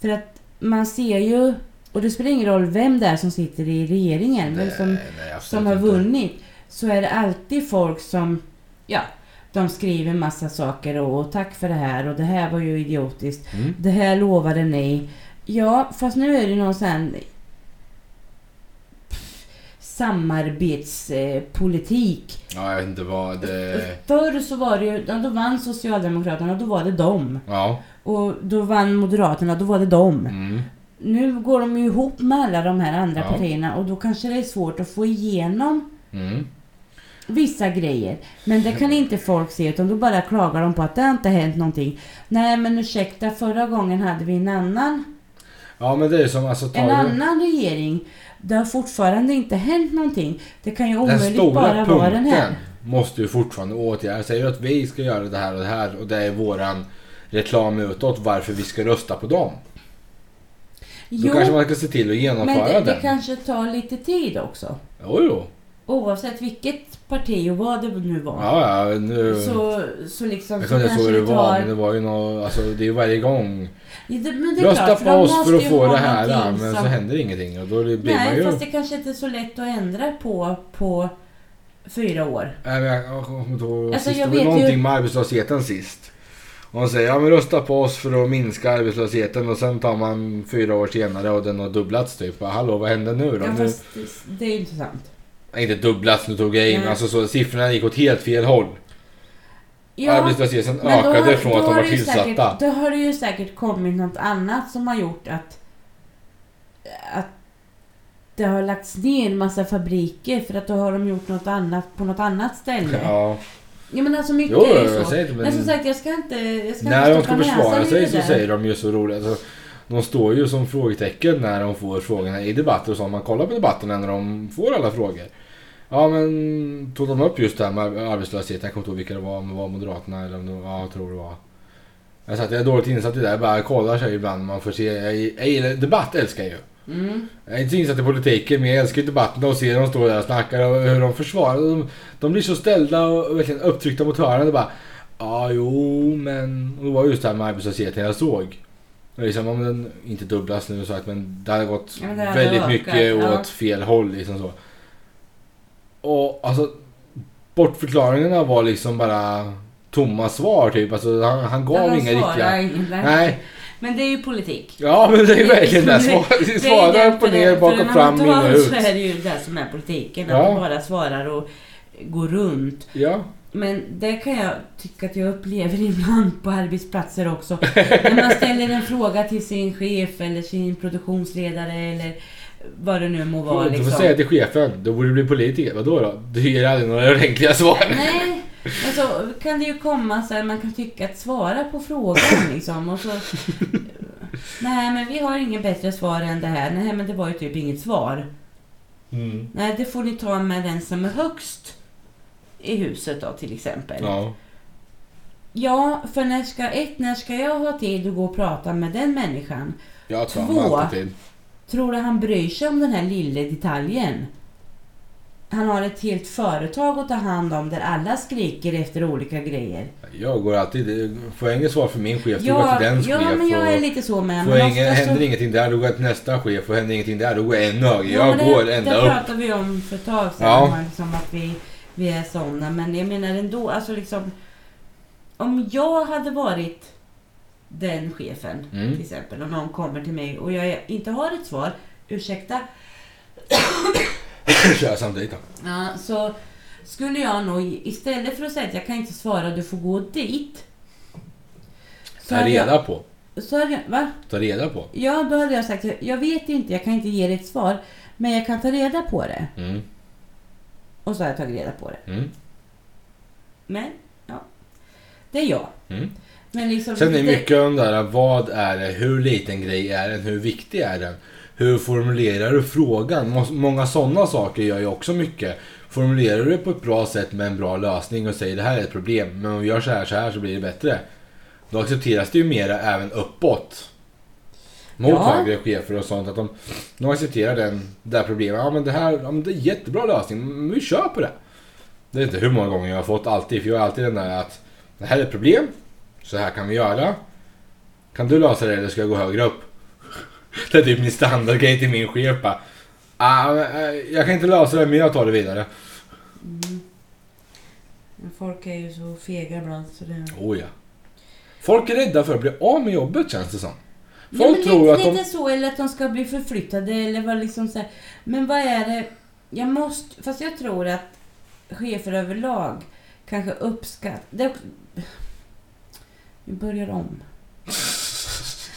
B: För att man ser ju, och det spelar ingen roll vem det är som sitter i regeringen, vem
A: Nej,
B: som,
A: nej, absolut
B: som har
A: inte.
B: vunnit, så är det alltid folk som, ja, de skriver massa saker och, och tack för det här och det här var ju idiotiskt.
A: Mm.
B: Det här lovade ni. Ja, fast nu är det någon sån här samarbetspolitik.
A: Ja, jag vet inte vad det...
B: Förr så var det ju, ja, då vann Socialdemokraterna, då var det dem.
A: Ja.
B: Och då vann Moderaterna, då var det dem.
A: Mm.
B: Nu går de ju ihop med alla de här andra
A: Ja.
B: partierna och då kanske det är svårt att få igenom
A: Mm.
B: vissa grejer. Men det kan inte folk se utan då bara klagar de på att det har inte hänt någonting. Nej men ursäkta, förra gången hade vi en annan
A: Ja men det är ju som alltså...
B: En
A: tar du-
B: annan regering, det har fortfarande inte hänt någonting. Det kan ju
A: Den
B: omöjligt bara
A: stora
B: vara den här.
A: punkten måste ju fortfarande åtgärdas. Säger du att vi ska göra det här och det här och det är våran reklam utåt varför vi ska rösta på dem. Då
B: Jo,
A: kanske man ska se till att
B: men
A: genomföra
B: det,
A: den.
B: det kanske tar lite tid också.
A: Jo, jo.
B: Oavsett vilket parti och vad det nu var.
A: Ja, ja, nu...
B: Så, så liksom
A: jag
B: så
A: kunde inte
B: kanske
A: så hur det
B: det
A: var,
B: tar...
A: men det var ju något, alltså det är ju varje gång.
B: Ja, det- men det är
A: Rösta
B: klart,
A: på
B: de
A: oss för
B: måste
A: att
B: ju
A: få
B: ha
A: det här, ja,
B: någonting
A: men så
B: som-
A: händer ingenting och då blir man
B: Nej,
A: ju...
B: fast det kanske inte är så lätt att ändra på på fyra år.
A: Nej, men jag jag kommer inte ihåg
B: Alltså,
A: sist.
B: jag
A: Det var
B: vet
A: någonting
B: ju-
A: med arbetslösheten sist. Och de säger ja men rösta på oss för att minska arbetslösheten och sen tar man fyra år senare och den har dubblats typ. Bara, Hallå vad hände nu då?
B: Ja,
A: nu...
B: fast det- det är ju inte sant.
A: Nej, Inte dubblats, nu tog jag in.
B: Nej.
A: Alltså så siffrorna gick åt helt fel håll.
B: Ja,
A: Arbetslösheten
B: Men då har-
A: ökade från
B: då
A: att de
B: har
A: var
B: det ju
A: tillsatta.
B: Säkert, då har det ju säkert kommit något annat som har gjort att, att det har lagts ner en massa fabriker för att då har de gjort något annat på något annat ställe. Ja,
A: Ja.
B: men alltså mycket
A: Jo,
B: är ju
A: jag
B: så.
A: säger inte
B: Men,
A: men...
B: som sagt, jag ska inte, jag ska
A: När de
B: inte
A: ska
B: stoppa näsan
A: försvara
B: i
A: sig
B: det
A: så
B: där.
A: säger de ju så roligt. Alltså, de står ju som frågetecken när de får frågorna i debatter och så. Om man kollar på debatterna när de får alla frågor. Ja men tog de upp just det här med arbetslösheten. Jag kommer inte ihåg vilka det var. Om det var Moderaterna eller om det var, ja, jag tror det var. Jag sa att jag är dåligt insatt i det. Jag bara kollar sig ibland. Man får se. Jag, jag gillar, debatt älskar jag ju.
B: Mm.
A: Jag är inte så insatt i politiken men jag älskar ju debatterna och ser dem stå där och snackar och hur de försvarar. De, de blir så ställda och verkligen upptryckta mot hörnen och bara Ja, jo, men... Och det var just det här med arbetslösheten jag såg. Och Liksom, om den inte dubblas nu så att men det hade gått
B: Ja, men det hade
A: väldigt
B: ökat,
A: mycket
B: ja.
A: åt fel håll liksom så. Och alltså bortförklaringarna var liksom bara tomma svar typ. Alltså han, han gav
B: Eller
A: inga
B: svara
A: riktiga...
B: ingen-
A: Nej,
B: Men det är ju politik.
A: ja men det är ju verkligen det.
B: Det
A: Svar-
B: är
A: Svara
B: därför
A: upp och
B: det- för
A: ner, bak och
B: en
A: fram, in och
B: annan
A: ut.
B: Så är det ju det som är politiken,
A: Ja.
B: att de bara svarar och går runt.
A: Ja.
B: Men det kan jag tycka att jag upplever ibland på arbetsplatser också. När man ställer en fråga till sin chef eller sin produktionsledare eller vad det nu må vara.
A: Du får
B: Liksom.
A: säga till chefen, då borde du bli politiker. Vadå då? Du ger aldrig några ordentliga svar.
B: Nej, men så kan det ju komma så här, man kan tycka att svara på frågan liksom. Och så, Nej, men vi har inget bättre svar än det här. Nej, men det var ju typ inget svar.
A: Mm.
B: Nej, det får ni ta med den som är högst i huset då till exempel.
A: Ja.
B: Ja, för när ska, ett, när ska jag ha tid att gå och prata med den människan?
A: Jag tar
B: Två.
A: mig alltid.
B: Tror du han bryr sig om den här lilla detaljen? Han har ett helt företag att ta hand om där alla skriker efter olika grejer.
A: Jag går alltid... Får jag inget svar från min chef, då går jag
B: Ja,
A: till dens
B: ja
A: chef.
B: men jag är
A: och
B: lite så med.
A: får jag
B: men
A: ingen,
B: ofta så-
A: händer ingenting där, då går jag till nästa chef. Och händer ingenting där, då går jag ännu högre.
B: Ja,
A: Jag
B: men det,
A: går ända
B: Det
A: upp.
B: pratade vi om för ett tag sedan,
A: Ja.
B: man liksom att vi, vi är sådana. Men jag menar ändå, alltså liksom... Om jag hade varit den chefen
A: Mm.
B: till exempel, om någon kommer till mig och jag inte har ett svar, ursäkta,
A: Kör jag samtidigt då.
B: ja, så skulle jag nog istället för att säga att jag kan inte svara, du får gå dit. Så
A: Ta
B: hade jag,
A: reda på.
B: så hade jag, va?
A: Ta reda på.
B: Ja, då hade jag sagt, jag vet inte, jag kan inte ge dig ett svar, men jag kan ta reda på det.
A: Mm.
B: Och så har jag tagit reda på det.
A: Mm.
B: Men, ja. Det är jag.
A: Mm.
B: Men liksom
A: Sen är
B: lite-
A: mycket om det här, vad är det, hur liten grej är den, hur viktig är den? Hur formulerar du frågan? Må- Många sådana saker gör ju också mycket. Formulerar du det på ett bra sätt med en bra lösning och säger det här är ett problem, men om vi gör så här, så här så blir det bättre. Då accepteras det ju mera även uppåt. Mot
B: Ja.
A: högre chefer och sånt. Att de, de accepterar den, det här problemet. Ja men det här, ja, men det är en jättebra lösning, men vi kör på det. Det är inte hur många gånger jag har fått alltid, för jag är alltid den där att det här är ett problem, så här kan vi göra. Kan du lösa det eller ska jag gå högre upp? Det är typ min standardgrej till min chef bara. Ah, men, eh, jag kan inte lösa det men jag tar det vidare.
C: Mm. Men Folk är ju så fega ibland så det...
A: Oh, ja. Folk är rädda för att bli av med jobbet känns det som.
B: ja,
A: Folk
B: men
A: tror
B: lite,
A: att de...
B: lite så, eller att de ska bli förflyttade eller vad liksom så här. Men vad är det? Jag måste... Fast jag tror att chefer överlag kanske uppskattar... Det är också, vi börjar om.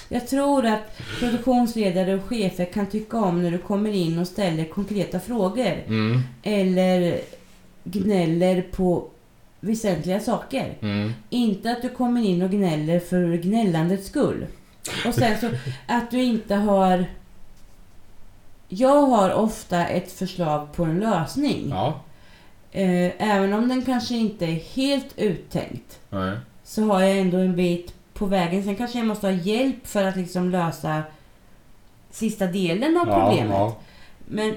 B: Jag tror att produktionsledare och chefer kan tycka om när du kommer in och ställer konkreta frågor.
A: Mm,
B: Eller gnäller på väsentliga saker.
A: mm.
B: Inte att du kommer in och gnäller för gnällandets skull. Och sen så att du inte har... Jag har ofta ett förslag på en lösning.
A: Ja.
B: Eh, även om den kanske inte är helt uttänkt.
A: Nej.
B: Så har jag ändå en bit på vägen. Sen kanske jag måste ha hjälp för att liksom lösa sista delen av problemet.
A: Ja,
B: Men,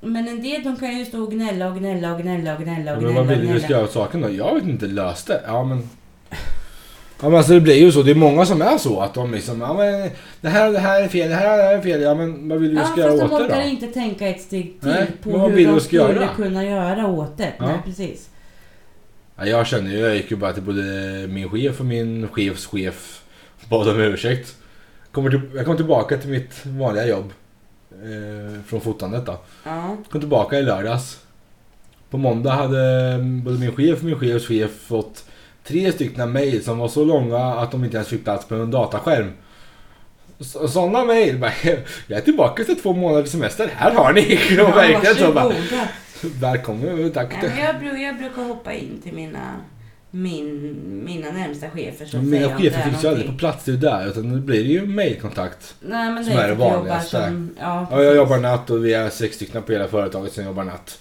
B: men en del de kan ju stå och gnälla och gnälla och gnälla och gnälla
A: ja.
B: och
A: Men
B: gnälla. Och
A: vad vill du
B: gnälla.
A: ska göra åt saken då? Jag vet inte, lös det. Ja men... Ja men alltså det blir ju så. Det är många som är så att de liksom... Ja men det här och det här är fel, det här och det här är fel. Ja men vad vill du
B: Ja,
A: ska göra
B: fast de
A: åt
B: orkar
A: det då?
B: inte tänka ett steg till
A: Nej,
B: på
A: men vad
B: hur
A: vill
B: de
A: du ska
B: skulle
A: göra?
B: kunna göra åt det.
A: Ja.
B: Nej, precis.
A: Ja, jag känner ju, jag gick ju bara till både min chef och min chefs chef. Bad om ursäkt. Kommer till, jag kom tillbaka till mitt vanliga jobb. Eh, från fotandet då.
B: Ja.
A: Kom tillbaka i lördags. På måndag hade mm, både min chef och min chefs chef fått tre stycken mejl som var så långa att de inte ens fick plats på en dataskärm. Så- Sådana mejl. bara, Jag är tillbaka efter två månaders semester. Här har ni! Och verkligen så bara,
C: varsågoda.
A: Välkommen, eh, tack.
C: Nej, men jag, bru- jag brukar hoppa in till mina, min, mina närmsta chefer. Så
A: Men
C: säger
A: Mina
C: jag om det
A: chefer
C: är
A: finns ju aldrig på
C: någonting.
A: plats, det är ju där. Utan nu blir det ju mejlkontakt.
C: Nej, men
A: som
C: det
A: är
C: är
A: det
C: för att jag
A: vanligaste.
C: jobbar Som, ja,
A: Ja, jag
C: precis.
A: jobbar natt och vi är sex stycken på hela företaget som jobbar natt.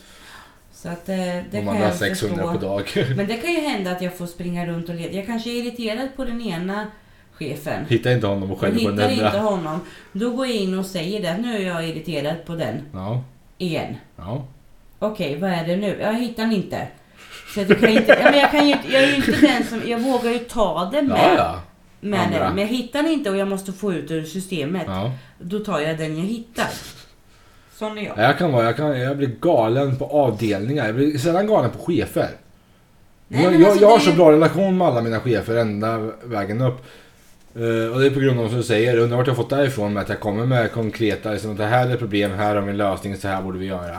C: Så att eh, det
A: och
C: kan
A: man har
C: jag
A: 600
C: förstå.
A: på dag.
C: Men det kan ju hända att jag får springa runt och leda. Jag kanske är irriterad på den ena chefen.
A: Hittar inte honom och
C: Men
A: skäller på den
C: hittar inte
A: andra.
C: honom. Då går jag in och säger det. Nu är jag irriterad på den
A: Ja,
C: igen.
A: ja.
C: Okej, vad är det nu? Jag hittar den inte. Så att jag kan inte, ja, men jag, kan ju, inte- jag är ju inte den som, jag vågar ju ta det med,
A: Ja, ja.
C: med
A: andra.
C: den. Men jag hittar den inte och jag måste få ut ur systemet.
A: ja.
C: Då tar jag den jag hittar. Sån är jag.
A: Jag kan vara, jag, kan, jag blir galen på avdelningar. Jag blir sällan galen på chefer.
C: Nej,
A: jag,
C: men
A: jag,
C: alltså,
A: jag har
C: det
A: så
C: är-
A: bra relation med alla mina chefer ända vägen upp. Eh, och det är på grund av som du säger, undrar vart jag fått det ifrån med att jag kommer med konkreta, liksom att det här är problem, här har vi en lösning, så här borde vi göra.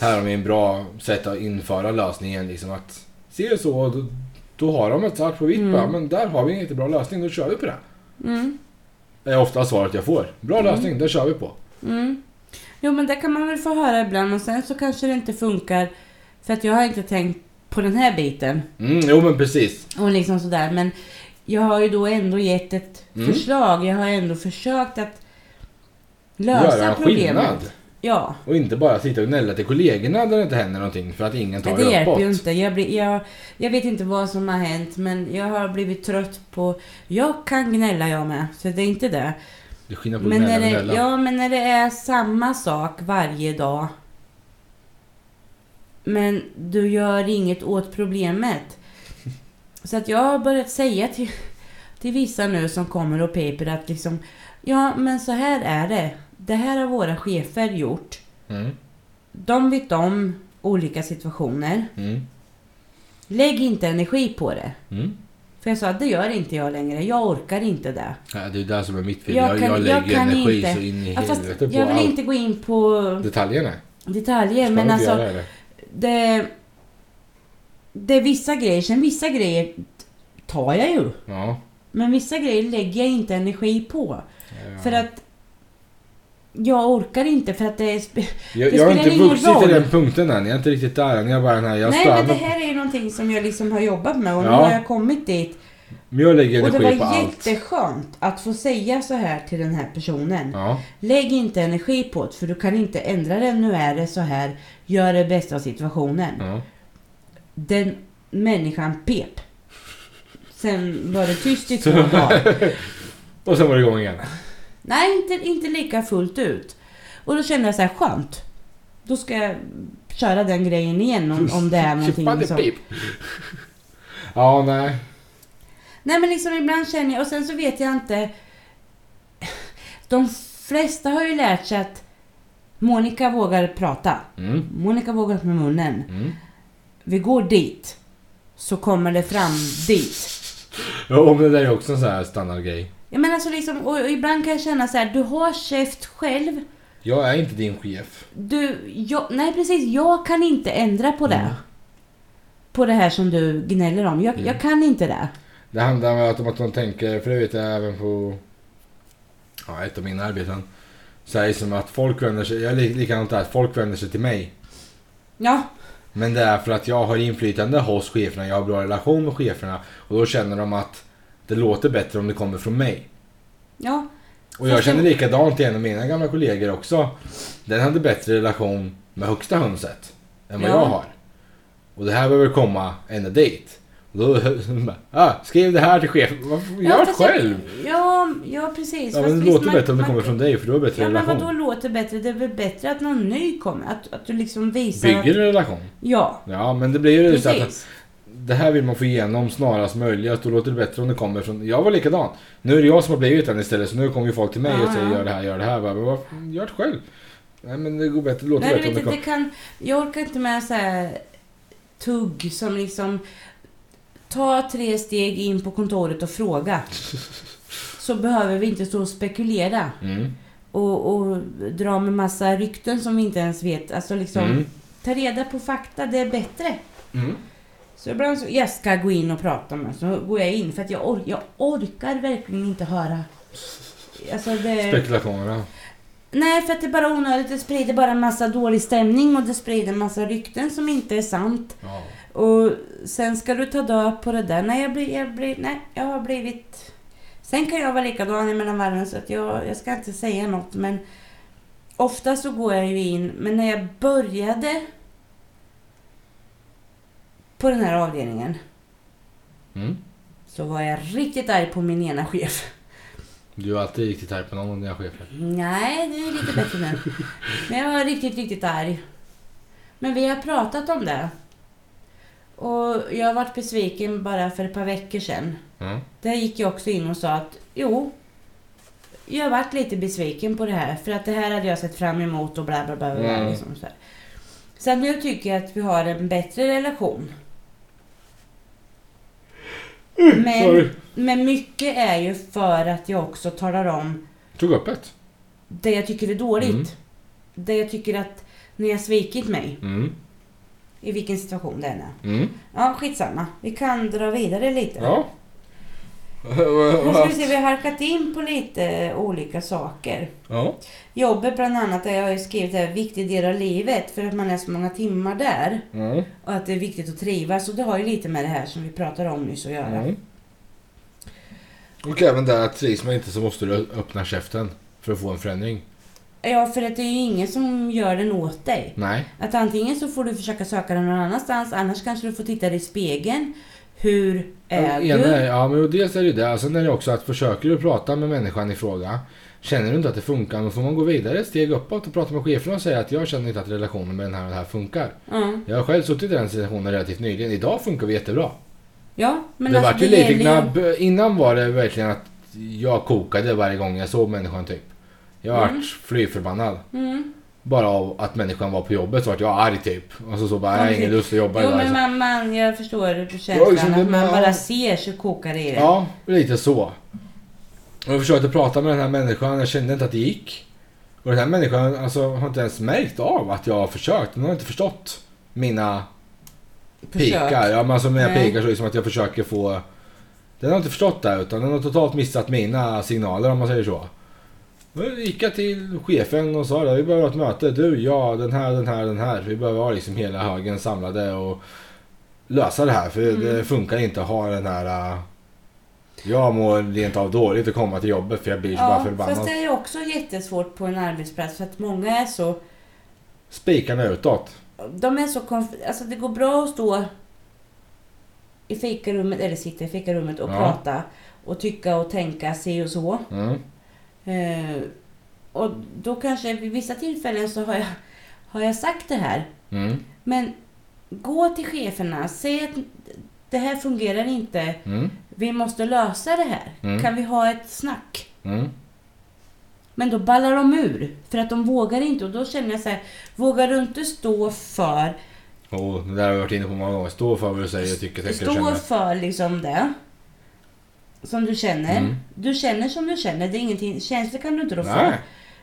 A: Här har vi en bra sätt att införa lösningen liksom att se så, då, då har de ett svart på vitt
C: Mm.
A: bara, men där har vi en jättebra lösning, då kör vi på det.
C: Mm,
A: Det är ofta svaret jag får. Bra
B: Mm.
A: lösning, det kör vi på.
C: mm.
B: Jo, men det kan man väl få höra ibland och sen så kanske det inte funkar för att jag har inte tänkt på den här biten
A: Mm, jo men precis.
B: och liksom sådär. Men jag har ju då ändå gett ett
A: Mm.
B: förslag. Jag har ändå försökt att
A: Göra
B: lösa
A: en
B: problemet.
A: skillnad.
B: Ja,
A: Och inte bara sitta och gnälla till kollegorna när det inte händer någonting för att ingen tar
B: det
A: det
B: hjälper
A: uppåt.
B: ju inte. Jag, blir, jag, jag vet inte vad som har hänt men jag har blivit trött på... Jag kan gnälla jag med, så det är inte det.
A: Det är skillnad på
B: Men
A: gnälla
B: när
A: och
B: det,
A: gnälla.
B: ja, men när det är samma sak varje dag. Men du gör inget åt problemet. Så att jag har börjat säga till, till vissa nu som kommer och piper att liksom Ja men så här är det. Det här har våra chefer gjort.
A: Mm,
B: De vet om olika situationer.
A: mm,
B: Lägg inte energi på det.
A: mm.
B: För jag sa det gör inte jag längre. Jag orkar inte det.
A: Ja, det är där som är mitt fel.
B: Jag
A: Jag, jag,
B: kan- jag
A: lägger
B: kan
A: energi
B: inte.
A: så in i
B: Ja, fast
A: helvete på
B: jag vill
A: allt.
B: inte gå in på
A: Detaljerna.
B: detaljer
A: Ska
B: men
A: man
B: alltså
A: inte göra det?
B: det, det är vissa grejer, sen vissa grejer tar jag ju.
A: Ja.
B: Men vissa grejer lägger jag inte energi på.
A: ja.
B: För att jag orkar inte för att det är... spe-
A: jag,
B: det
A: jag har
B: spelar
A: inte
B: ingen
A: vuxit
B: roll.
A: till den punkten än. Jag är inte riktigt där än. Jag är bara den här, jag
B: Nej
A: stör
B: men det
A: mig.
B: här är ju någonting som jag liksom har jobbat med och nu
A: Ja.
B: har jag kommit dit.
A: Men jag lägger
B: Och det
A: energi på
B: var
A: allt.
B: jätteskönt att få säga så här till den här personen.
A: Ja,
B: Lägg inte energi på det för du kan inte ändra den. Nu är det så här. Gör det bästa av situationen.
A: ja.
B: Den människan pep. Sen var det tyst i två dagar.
A: Och sen var det igång igen.
B: Nej, inte, inte lika fullt ut. Och då kände jag så här, skönt. Då ska jag köra den grejen igen om, om det är någonting liksom.
A: Chippade
B: som...
A: pip. Ja, nej.
B: Nej men liksom ibland känner jag, och sen så vet jag inte. De flesta har ju lärt sig att Monica vågar prata.
A: Mm.
B: Monica vågar öppna munnen.
A: Mm.
B: Vi går dit. Så kommer det fram dit.
A: Ja, men det där är också en sån här standardgrej.
B: Jag menar så liksom, och, och ibland kan jag känna så här, du har käft själv.
A: Jag är inte din chef.
B: Du, jag, nej precis, jag kan inte ändra på det.
A: Mm.
B: På det här som du gnäller om. Jag,
A: Mm.
B: jag kan inte det.
A: Det handlar om att- om att de tänker, för det vet jag även på ja, ett av mina arbeten. Så här, som att folk vänder sig, jag är li- likadant där, att folk vänder sig till mig.
B: Ja,
A: Men det är för att jag har inflytande hos cheferna, jag har bra relation med cheferna och då känner de att det låter bättre om det kommer från mig.
B: ja.
A: Och jag
B: Fast det-
A: känner likadant till en av mina gamla kollegor också. Den hade bättre relation med högsta hönset än vad
B: Ja.
A: jag har. Och det här behöver komma ända dit. Och då ah, skriv det här till chefen. Varför gör
B: ja,
A: det
B: fast jag-
A: själv?
B: Ja, ja precis.
A: Ja,
B: Fast
A: men det
B: visst,
A: låter
B: man-
A: bättre om det
B: man-
A: kommer från dig för du har bättre
B: Ja men vadå
A: relation.
B: låter bättre? Det är väl bättre att någon ny kommer? Att, att du liksom visar att...
A: Bygger en relation.
B: Ja,
A: Ja, men det blir ju så att
B: precis.
A: det här vill man få igenom snarast möjligt. Då låter det bättre om det kommer från... Jag var likadan. Nu är det jag som har blivit den istället så nu kommer ju folk till mig
B: Ja,
A: och säger
B: ja.
A: gör det här, gör det här. Bara, Men varför? Gör det själv. Nej men det går bättre, det låter
B: Nej
A: bättre
B: du vet,
A: om det
B: det kan... Jag orkar inte med så här tugg som liksom... Ta tre steg in på kontoret och fråga. Så behöver vi inte stå och spekulera.
A: kommer... Mm.
B: Och, och dra med massa rykten som vi inte ens vet. Alltså liksom...
A: Mm.
B: Ta reda på fakta, det är bättre.
A: Mm.
B: Så ibland så, jag ska gå in och prata med så går jag in för att jag, or- jag orkar verkligen inte höra. Alltså det,
A: Spekulationerna.
B: nej, för att det är bara onödigt. Det sprider bara en massa dålig stämning och det sprider en massa rykten som inte är sant.
A: Ja.
B: Och sen ska du ta död på det där. Nej, jag, blir, jag, blir, nej, jag har blivit... Sen kan jag vara likadan i mellanvärlden så att jag, jag ska inte säga något men ofta så går jag ju in, men när jag började på den här avdelningen
A: Mm.
B: så var jag riktigt arg på min ena chef.
A: Du är alltid riktigt arg på någon av dina chefer.
B: Nej, det är lite bättre nu. Men jag var riktigt, riktigt arg. Men vi har pratat om det. Och jag har varit besviken bara för ett par veckor sedan.
A: Mm.
B: Där gick jag också in och sa att jo, jag har varit lite besviken på det här. För att det här hade jag sett fram emot och bla bla bla. bla
A: Mm.
B: liksom så här. så att nu tycker jag att vi har en bättre relation. Men,
A: Sorry.
B: men mycket är ju för att jag också talar om
A: Tog upp ett.
B: det jag tycker är dåligt.
A: Mm.
B: Det jag tycker att ni har svikit mig.
A: Mm.
B: I vilken situation det än är.
A: Mm.
B: Ja, skitsamma. Vi kan dra vidare lite.
A: Ja.
B: Nu ska vi se, vi har halkat in på lite olika saker.
A: ja.
B: Jobbet bland annat, där jag har ju skrivit det här, viktig del av livet för att man är så många timmar där.
A: Mm.
B: Och att det är viktigt att trivas. Och det har ju lite med det här som vi pratade om nyss att göra.
A: Mm. Och även där att trivs man inte så måste du öppna käften för att få en förändring.
B: Ja, för att det är ju ingen som gör den åt dig.
A: Nej.
B: Att antingen så får du försöka söka den någon annanstans, annars kanske du får titta dig i spegeln. Hur är
A: Ena
B: du?
A: är- ja, men dels är det ju det. Sen är det också att försöker du prata med människan i fråga. Känner du inte att det funkar, då får man gå vidare ett steg uppåt och prata med chefen och säga att jag känner inte att relationen med den här och den här funkar.
B: Ja,
A: Jag har själv suttit i den situationen relativt nyligen. Idag funkar vi jättebra.
B: ja men
A: det
B: alltså
A: vart ju
B: det
A: lite
B: gäller
A: gnabb. Innan var det verkligen att jag kokade varje gång jag såg människan typ. Jag vart fly förbannad.
B: Mm.
A: Bara av att människan var på jobbet så vart jag arg typ. Och så så bara, jag har
B: Ja,
A: ingen
B: precis.
A: lust att jobba
B: Jo
A: idag.
B: men
A: Så-
B: man, man, jag förstår
A: Ja,
B: känslan
A: liksom, det-
B: att man
A: ja.
B: bara ser så kokar det i det.
A: Ja, lite så. Och jag försökte prata med den här människan, jag kände inte att det gick. Och den här människan alltså, har inte ens märkt av att jag har försökt. Den har inte förstått mina
B: Försök.
A: pikar. Ja, men alltså mina
B: Nej.
A: pikar så liksom att jag försöker få... Den har inte förstått det utan den har totalt missat mina signaler om man säger så. Då gick jag till chefen och sa det, vi behöver ha ett möte. Du, jag, den här, den här, den här. Vi behöver ha liksom hela högen samlade och lösa det här. För det
B: Mm.
A: funkar inte att ha den här... äh, Jag mår rent av dåligt att komma till jobbet för jag blir så bara
B: Ja, fast
A: förbannad.
B: det är ju också jättesvårt på en arbetsplats för att många är så...
A: Spikarna utåt.
B: De är så konf- Alltså det går bra att stå i fikarummet, eller sitta i fikarummet och
A: Ja.
B: prata och tycka och tänka, se och så.
A: Mm.
B: Eh, och då kanske vid vissa tillfällen så har jag, har jag sagt det här.
A: Mm.
B: Men gå till cheferna, säg att det här fungerar inte.
A: Mm.
B: Vi måste lösa det här.
A: Mm.
B: Kan vi ha ett snack?
A: Mm.
B: Men då ballar de ur, för att de vågar inte. Och då känner jag så här, vågar du inte stå för,
A: Oh, det där har vi varit inne på många gånger. Stå för vad du säger, tycker, tänker och
B: stå
A: känner.
B: för liksom det som du känner.
A: Mm.
B: Du känner som du känner, det är ingenting, känslor kan du inte rå för.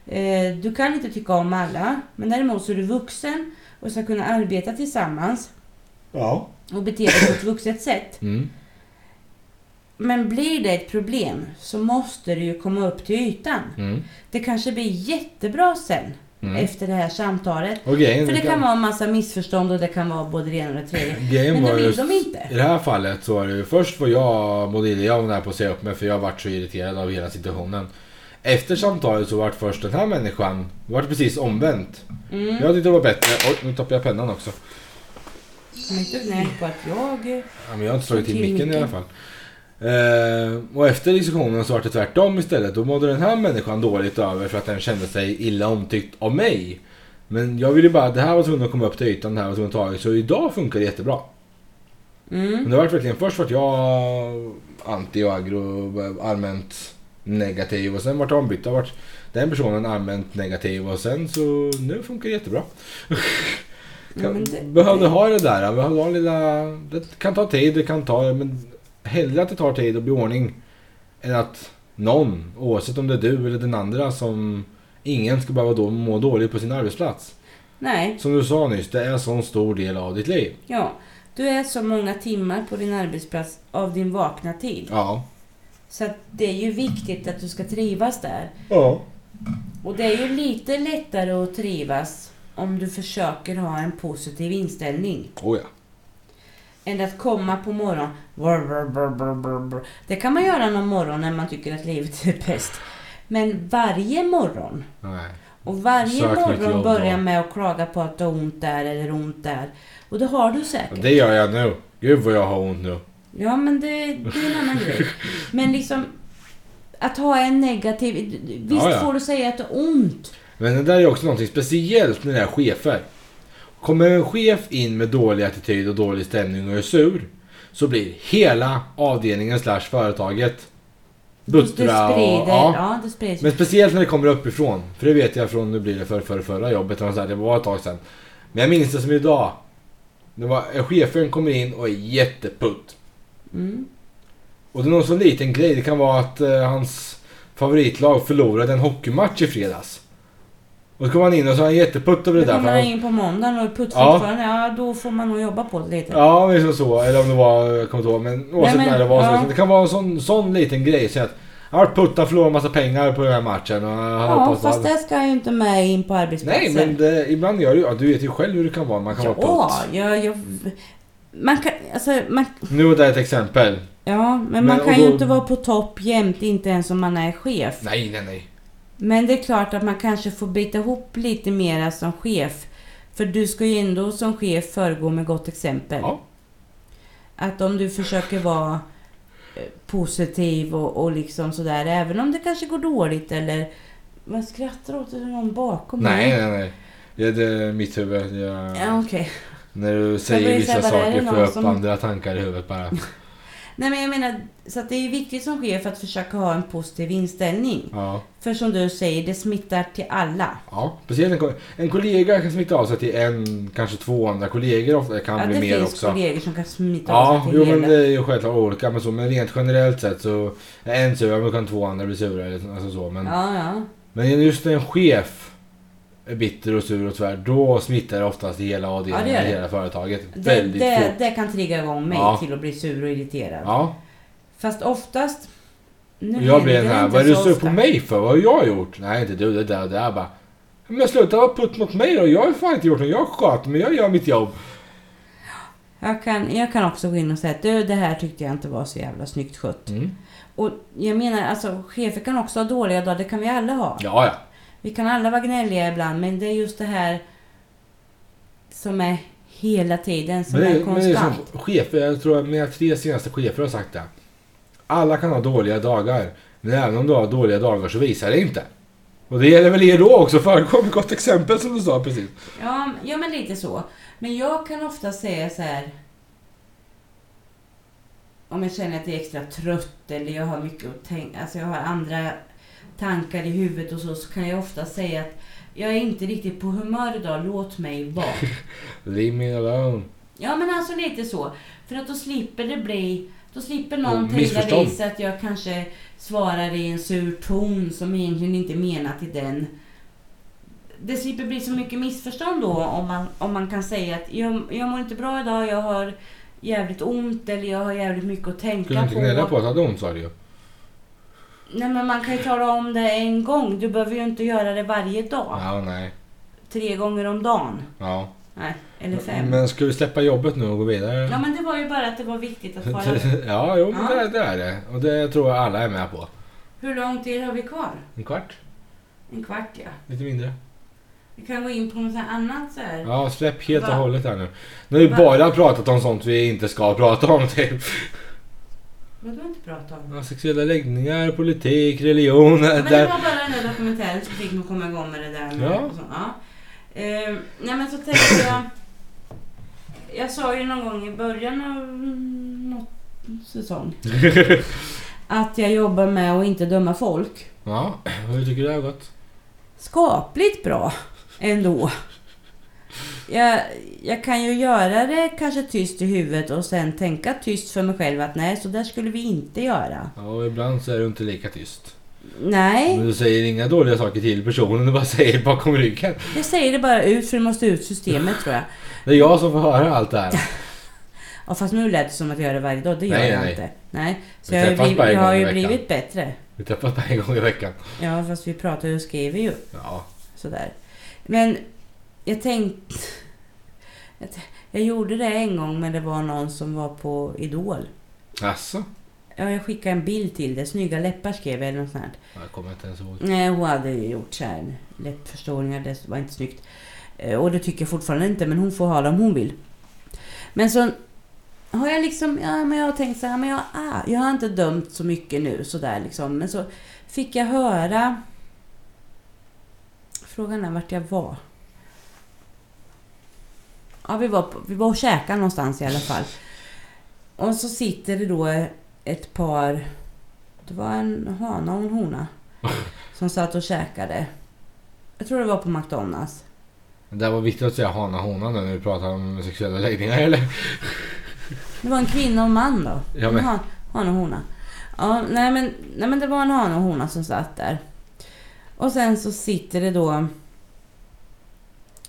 A: Nej.
B: Eh, Du kan inte tycka om alla, men däremot så är du vuxen och ska kunna arbeta tillsammans
A: Ja.
B: och bete dig på ett vuxet sätt.
A: Mm.
B: Men blir det ett problem så måste det ju komma upp till ytan.
A: Mm.
B: Det kanske blir jättebra sen
A: Mm.
B: efter det här samtalet.
A: Och grejen, liksom-
B: För det kan vara en massa missförstånd och det kan vara både det ena och det tredje.
A: grejen
B: Men
A: var
B: det vill
A: just,
B: de inte.
A: I det här fallet så var det ju först var jag, mådde illa, jag var nära på att säga upp mig för jag vart så irriterad av hela situationen. Efter samtalet så vart först den här människan, vart precis omvänt.
B: Mm.
A: Jag tyckte det var bättre, oj nu tappade jag pennan också.
B: Som inte gnäll på att jag...
A: Ja, men jag har inte slagit till
B: Till
A: micken i
B: micken.
A: alla fall. Eh, och efter diskussionen så var det tvärtom istället. Då mådde den här människan dåligt över för att den kände sig illa omtyckt av mig. Men jag ville bara, det här var tvungen att komma upp till ytan, det här var tvungen att ta i. Så idag funkar det jättebra. Men
B: Mm.
A: det var verkligen, först vart jag anti och aggro, allmänt negativ och sen vart det ombytt. Jag vart den personen allmänt negativ och sen så nu funkar det jättebra.
B: Ja, men det-
A: behövde ha det där, behövde ha lilla... Det kan ta tid, det kan ta... Men hellre att det tar tid och blir ordning än att någon, oavsett om det är du eller den andra som... Ingen ska behöva då må dåligt på sin arbetsplats.
B: Nej,
A: Som du sa nyss, det är en sån stor del av ditt liv.
B: ja. Du är så många timmar på din arbetsplats av din vakna tid.
A: Ja.
B: Så att det är ju viktigt att du ska trivas där.
A: Ja.
B: Och det är ju lite lättare att trivas om du försöker ha en positiv inställning.
A: Oh, ja.
B: Än att komma på morgonen. Brr, brr, brr, brr, brr, brr. Det kan man göra någon morgon när man tycker att livet är bäst. Men varje morgon
A: Nej.
B: Och varje
A: Sök nytt jobb
B: morgon
A: då.
B: börjar med att klaga på att du har ont där eller ont där. Och det har du
A: Ja,
B: säkert.
A: Det gör jag nu. Gud vad jag har ont nu.
B: Ja, men det, det är en annan grej. Men liksom, att ha en negativ... Visst
A: Ja, ja.
B: får du säga att du har ont?
A: Men det där är också någonting speciellt med det här chefer. Kommer en chef in med dålig attityd och dålig stämning och är sur så blir hela avdelningen slash företaget buttra
B: du
A: och...
B: sprider, ja.
A: Ja.
B: det sprids.
A: Men speciellt när det kommer uppifrån. För det vet jag från, nu blir det för, för förra jobbet, eller så här, det var ett tag sedan. Men jag minns det som idag. Det var, chefen kommer in och är jätteputt.
B: Mm.
A: Och det är någon sån liten grej. Det kan vara att eh, hans favoritlag förlorade en hockeymatch i fredags. Och så kom han in och så är han jätteputt över
B: Då
A: det där. för
B: kommer man
A: Han,
B: in på måndagen och är putt
A: Ja.
B: fortfarande. Ja, då får man nog jobba på det lite.
A: ja, liksom så. Eller om det var, jag kommer inte ihåg. Men oavsett
B: men,
A: när det var. Så
B: ja.
A: liksom, det kan vara en sån, sån liten grej. Så att han har putt, han förlorade en massa pengar på den här matchen. Och han
B: Ja,
A: hoppas
B: fast
A: att...
B: det ska jag ju inte med in på arbetsplatsen.
A: Nej, men det, ibland gör det ju... Ja, du vet ju själv hur det kan vara. Man kan vara
B: Ja,
A: putt.
B: jag, jag, man kan, alltså, man,
A: Nu var det ett exempel.
B: Ja, men,
A: Men-
B: man
A: och
B: kan ju
A: då-
B: inte vara på topp jämt, inte ens om man är chef.
A: Nej, nej, nej.
B: Men det är klart att man kanske får bita ihop lite mera som chef. För du ska ju ändå som chef föregå med gott exempel.
A: Ja.
B: Att om du försöker vara eh, positiv och, och liksom sådär, även om det kanske går dåligt eller... Vad skrattar åt? Är det någon bakom
A: Nej,
B: mig?
A: nej, nej. Det är det- mitt huvud. Jag...
B: Mm. Ja, okej.
A: När du säger
B: börjar
A: vissa
B: säga bara, är det
A: saker får
B: någon
A: jag upp
B: som-
A: andra tankar i huvudet bara.
B: Nej, men jag menar, så att det är ju viktigt som chef att försöka ha en positiv inställning.
A: Ja.
B: För som du säger, det smittar till alla.
A: Ja, speciellt en, ko- en kollega kan smitta av sig till en, kanske två andra kollegor ofta. Det kan
B: Ja,
A: bli
B: det
A: mer
B: finns
A: också.
B: kollegor som kan smita av
A: Ja,
B: sig till
A: jo
B: hela.
A: men det är ju självklart olika men så. Men rent generellt sett så är en sur, men kan två andra bli sura eller så- alltså så. Men,
B: Ja, ja.
A: men just när en chef är bitter och sur och tvär, då smittar det oftast i hela
B: Ja,
A: avdelningen,
B: det gör
A: i
B: det.
A: hela företaget.
B: Det,
A: Väldigt
B: det,
A: fort.
B: det kan trigga igång mig
A: Ja.
B: till att bli sur och irriterad.
A: Ja,
B: Fast oftast... Nu
A: och jag blir
B: händer
A: den
B: det
A: här,
B: inte
A: vad är du
B: så
A: sur
B: ofta.
A: på mig för? Vad har jag gjort? Nej inte du, det där och det där bara. Men sluta vara putt mot mig då, jag har ju fan inte gjort något, jag sköt men jag gör mitt jobb.
B: Jag kan, jag kan också gå in och säga att du, det här tyckte jag inte var så jävla snyggt skött.
A: Mm.
B: Och jag menar, alltså chefer kan också ha dåliga dagar, det kan vi alla ha.
A: Ja, ja.
B: Vi kan alla vara gnälliga ibland, men det är just det här som är hela tiden, som
A: Men
B: är
A: det, men det är
B: konstant.
A: som chefer, jag tror att mina tre senaste chefer har sagt det. Alla kan ha dåliga dagar, men även om du har dåliga dagar så visar det inte. Och det gäller väl er då också, föregår med gott exempel som du sa precis.
B: Ja, men- ja, men lite så. Men jag kan ofta säga så här. Om jag känner att jag är extra trött eller jag har mycket att tänka, alltså jag har andra tankar i huvudet och så, så kan jag ofta säga att jag är inte riktigt på humör idag, låt mig vara.
A: Leave me alone.
B: Ja men alltså lite så. För att då slipper det bli... Då slipper någon
A: Och
B: trilla
A: missförstånd.
B: vid sig att jag kanske svarar i en sur ton som egentligen inte är menat till den. Det slipper bli så mycket missförstånd då om man, om man kan säga att jag, jag mår inte bra idag, jag har jävligt ont eller jag har jävligt mycket att tänka
A: Skulle du inte gnälla på att ha ont sa du ju.
B: Nej men man kan ju tala om det en gång. Du behöver ju inte göra det varje dag.
A: Ja, nej.
B: Tre gånger om dagen.
A: Ja.
B: Nej, eller fem.
A: Men ska vi släppa jobbet nu och gå vidare?
B: Ja men det var ju bara att det var viktigt att vara...
A: ja, jo, men
B: Ja.
A: det, det är det. Och det tror jag alla är med på.
B: Hur lång tid har vi kvar?
A: En kvart?
B: En kvart ja.
A: Lite mindre?
B: Vi kan gå in på något så här annat så här.
A: Ja, släpp helt och
B: Va?
A: hållet här nu. Nu har vi
B: Va?
A: bara pratat om sånt vi inte ska prata om typ.
B: Vad du inte pratat om?
A: Ja, sexuella läggningar, politik, religion.
B: Men det
A: Äh, där.
B: var bara den där dokumentären som fick mig att komma igång med det där. Med
A: Ja.
B: och så, ja. Ehm, nej men så tänkte jag. Jag sa ju någon gång i början av mm, något säsong. att jag jobbar med att inte döma folk.
A: Ja, hur tycker du det har gått?
B: Skapligt bra ändå. Jag, jag kan ju göra det kanske tyst i huvudet och sen tänka tyst för mig själv att nej, så där skulle vi inte göra.
A: Ja, och ibland så är du inte lika tyst.
B: Nej.
A: Men du säger inga dåliga saker till personen, du bara säger bakom ryggen.
B: Jag säger det bara ut för det måste ut systemet tror jag.
A: Det är jag som får höra allt det här.
B: Ja, fast nu lät det som att jag gör det varje dag. Det gör
A: Nej,
B: jag
A: nej.
B: inte. Nej. Så
A: Vi
B: jag har ju
A: träffas
B: blivit,
A: varje
B: jag har
A: gång i
B: ju
A: veckan.
B: blivit bättre.
A: Vi träffas bara en gång i veckan.
B: Ja, fast vi pratar ju och skriver ju
A: Ja,
B: sådär. Men jag tänkte... jag t- Jag gjorde det en gång men det var någon som var på Idol.
A: alltså.
B: Ja, jag skickade en bild till det. Snygga läppar skrev jag eller något sånt. här.
A: Jag kommer inte ens ihåg.
B: Nej, hon hade ju gjort så här läppförstoringar. Det var inte snyggt. Eh, Och det tycker jag fortfarande inte, men hon får ha det om hon vill. Men så har jag liksom, ja men jag har tänkt så här, men jag, ah, jag har inte dömt så mycket nu sådär liksom. Men så fick jag höra... Frågan är vart jag var. Ja, vi var, på, vi var och käkade någonstans i alla fall. Och så sitter det då ett par... Det var en hana och en hona som satt och käkade. Jag tror det var på McDonalds.
A: Det där var viktigt att säga hana hona nu när vi pratar om sexuella läggningar eller?
B: Det var en kvinna och en man då.
A: Ja,
B: En
A: men-
B: han, han och hona. Ja, nej, men, nej men det var en han och hona som satt där. Och sen så sitter det då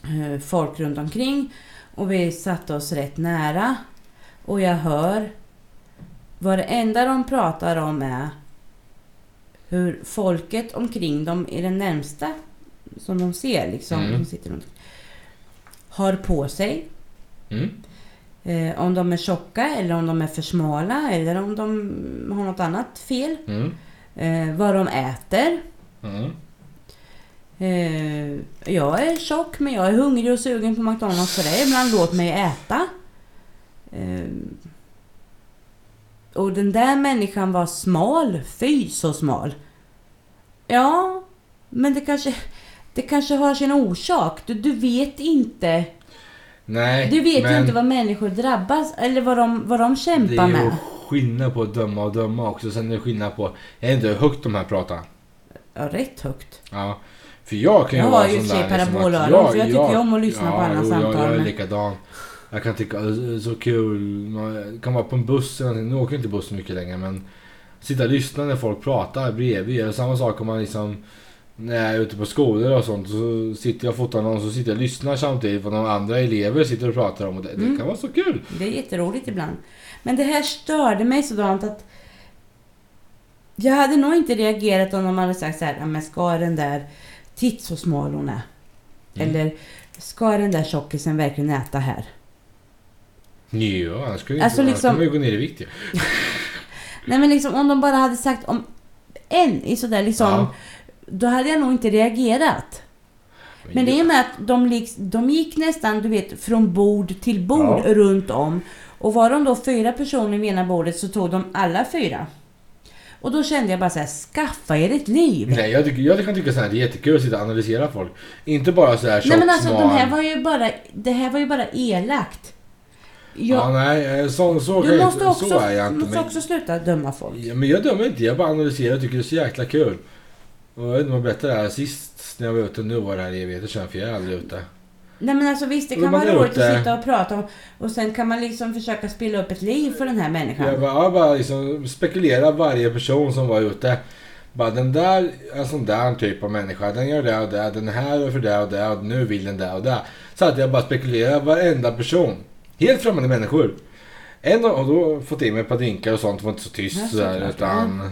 B: eh, folk runt omkring och vi satte oss rätt nära. Och jag hör vad det enda de pratar om är hur folket omkring dem i den närmsta som de ser liksom,
A: Mm.
B: de sitter runt, har på sig
A: Mm.
B: Eh, om de är tjocka eller om de är för smala eller om de har något annat fel.
A: Mm.
B: Eh, vad de äter.
A: Mm.
B: Eh, jag är tjock men jag är hungrig och sugen på McDonalds för det är ibland. Låt mig äta. Eh, och den där människan var smal. Fy så smal. Ja, men det kanske, det kanske har sin orsak. Du, du vet inte.
A: Nej,
B: Du vet ju
A: men
B: inte vad människor drabbas eller vad de, vad de
A: det
B: kämpar
A: är ju
B: med.
A: skillnad på att döma och döma också. Sen är det skillnad på, är det inte högt de här pratar?
B: Ja, rätt högt.
A: Ja. För jag kan ju
B: Jag
A: vara
B: har ju
A: sån
B: i och för
A: där
B: sig
A: liksom
B: parabolöron,
A: att
B: för jag tycker ju om att lyssna på alla
A: jo,
B: samtal,
A: Jag, jag är
B: men-
A: likadan. Jag kan tycka "Åh, det är så kul. Man kan vara på en buss eller någonting. Nu åker jag inte buss så mycket längre men sitta och lyssna när folk pratar bredvid. Eller samma sak om man liksom när jag är ute på skolor och sånt så sitter jag och fotar någon så sitter jag och lyssnar samtidigt vad de andra elever sitter och pratar om och det, det
B: Mm.
A: kan vara så kul.
B: Det är jätteroligt ibland. Men det här störde mig sådant att jag hade nog inte reagerat om de hade sagt så här, "Ja, men ska den där, titt så smal hon är.
A: Mm.
B: Eller, ska den där tjockisen verkligen äta här?
A: Ja, annars
B: Alltså,
A: skulle alltså, inte,
B: liksom-
A: liksom... man ju gå ner i vikt ju.
B: Nej men liksom om de bara hade sagt om en i sådär liksom.
A: Ja.
B: Då hade jag nog inte reagerat. Men det är med att de, liks- de gick nästan, du vet, från bord till bord
A: Ja.
B: runt om. Och var de då fyra personer vid ena bordet så tog de alla fyra. Och då kände jag bara så här, skaffa er ett liv!
A: Nej, jag, tycker, jag kan tycka så här, det är jättekul att sitta och analysera folk. Inte bara så här
B: Nej
A: tjock,
B: men alltså de
A: smal.
B: här var ju bara, det här var ju bara elakt. Jag,
A: Ja, nej, eh, så, så, kan
B: du
A: jag
B: måste,
A: inte,
B: också,
A: så är jag
B: du
A: inte.
B: måste
A: men-
B: också sluta döma folk.
A: Ja, men jag dömer inte, jag bara analyserar och tycker det är så jäkla kul. Och jag vet inte om jag berättade det här sist när jag var ute, nu var det här evigheter sedan för jag är aldrig ute.
B: Nej men alltså visst det
A: Men
B: kan
A: man
B: vara
A: är
B: roligt
A: ute.
B: att sitta och prata om och sen kan man liksom försöka spela upp ett liv för den här människan.
A: Jag bara, jag bara liksom spekulerar varje person som var ute. Bara den där, en sån där typ av människa, den gör det och det, den här gör för det och det och nu vill den det och det. Så att jag bara spekulerar varenda person. Helt främmande människor. En av- och då fått i mig ett par drinkar och sånt, var inte så tyst
B: Ja,
A: sådär
B: såklart.
A: utan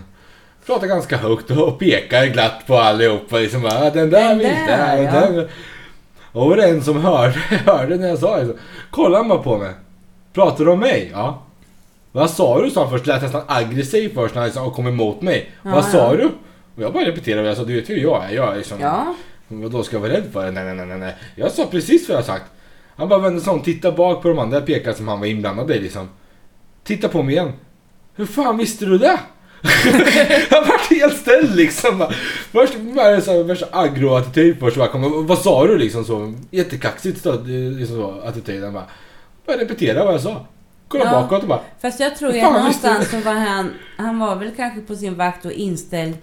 A: pratar ganska högt och pekar glatt på allihopa liksom bara, "Ah, den där
B: Den
A: vill
B: där,
A: det här,
B: ja."
A: den där. Och var det en som hörde, hörde när jag sa det. så Kollade han bara på mig. Pratar du om mig? Ja. Vad sa du? sa han först. Lät nästan aggressiv först när han liksom kom emot mig.
B: Ja,
A: Vad sa
B: ja.
A: du? Och jag bara repeterade vad jag sa. Du vet hur jag är. Jag är liksom...
B: Ja,
A: Vadå, ska jag vara rädd för det? Nej, nej, nej, nej, nej. Jag sa precis vad jag sagt. Han bara vände sig om, tittade bak på de andra pekar som han var inblandad i liksom. Titta på mig igen. Hur fan visste du det? han vart helt ställd liksom. bara. Först var det så här värsta aggro-attityd först. Bara, kom, vad sa du liksom så? Jättekaxigt så, liksom så, attityden bara. Bara repetera vad jag sa. Kolla
B: Ja.
A: bakåt och bara.
B: fast jag tror ju
A: Fan,
B: att
A: visst
B: någonstans så var han, han var väl kanske på sin vakt och inställd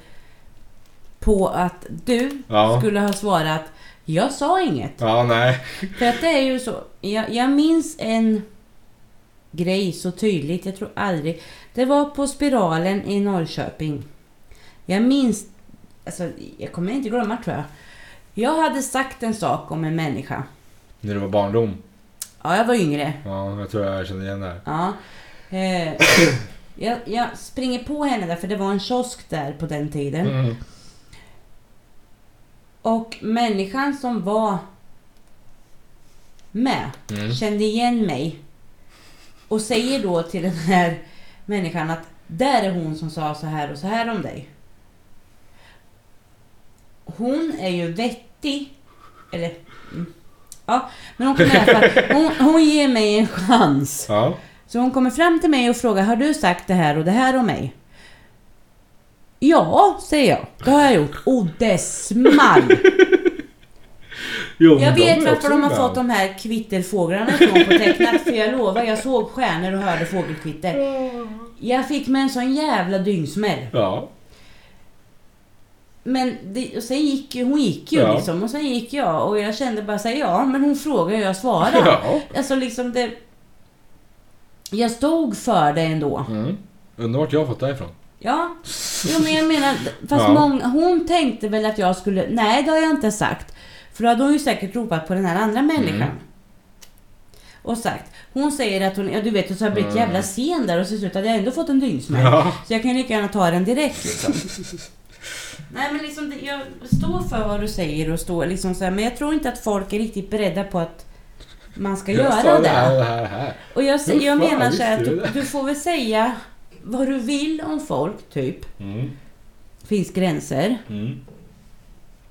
B: på att du
A: Ja.
B: skulle ha svarat jag sa inget.
A: Ja, nej.
B: För att det är ju så. Jag, jag minns en grej så tydligt. Jag tror aldrig. Det var på Spiralen i Norrköping. Jag minns... Alltså, jag kommer inte glömma tror jag. Jag hade sagt en sak om en människa.
A: När det var barndom.
B: Ja, jag var yngre.
A: Ja, jag tror jag kände igen det här.
B: Ja. Eh, jag, jag springer på henne där, för det var en kiosk där på den tiden.
A: Mm.
B: Och människan som var med
A: Mm.
B: kände igen mig och säger då till den här människan att där är hon som sa så här och så här om dig. Hon är ju vettig, eller mm, ja, men hon, kommer i alla fall, hon, hon ger mig en chans.
A: Ja.
B: Så hon kommer fram till mig och frågar, har du sagt det här och det här om mig? Ja, säger jag. Det har jag gjort. Och det small!
A: Jo, men
B: Jag
A: de
B: vet
A: är
B: varför
A: också
B: de har
A: ibland.
B: fått de här kvitterfåglarna ifrån på tecknat, för jag lovar, jag såg stjärnor och hörde fågelkvitter. Jag fick mig en sån jävla dyngsmäll.
A: Ja.
B: Men det, och sen gick ju, hon gick ju
A: Ja.
B: liksom, och sen gick jag och jag kände bara såhär, ja men hon frågar och jag svarar.
A: Ja.
B: Alltså liksom det... Jag stod för det ändå.
A: Mm. Undrar vart jag har fått det här ifrån.
B: Ja, jo, men jag menar, fast
A: Ja.
B: många, hon tänkte väl att jag skulle, nej det har jag inte sagt. För då hade hon ju säkert ropat på den här andra människan.
A: Mm.
B: Och sagt, hon säger att hon, ja du vet, och så har jag blivit
A: Mm.
B: jävla sen där och så slut hade jag ändå fått en dyngsmäll.
A: Ja.
B: Så jag kan ju lika gärna ta den direkt liksom. Nej men liksom, det- jag står för vad du säger och står liksom så här, men jag tror inte att folk är riktigt beredda på att man ska
A: jag
B: göra
A: det här,
B: det.
A: det här, det här.
B: Och jag,
A: Hur
B: sä- jag
A: fan
B: menar så här att
A: visste du
B: du,
A: det?
B: du får väl säga vad du vill om folk, typ.
A: Mm.
B: finns gränser.
A: Mm.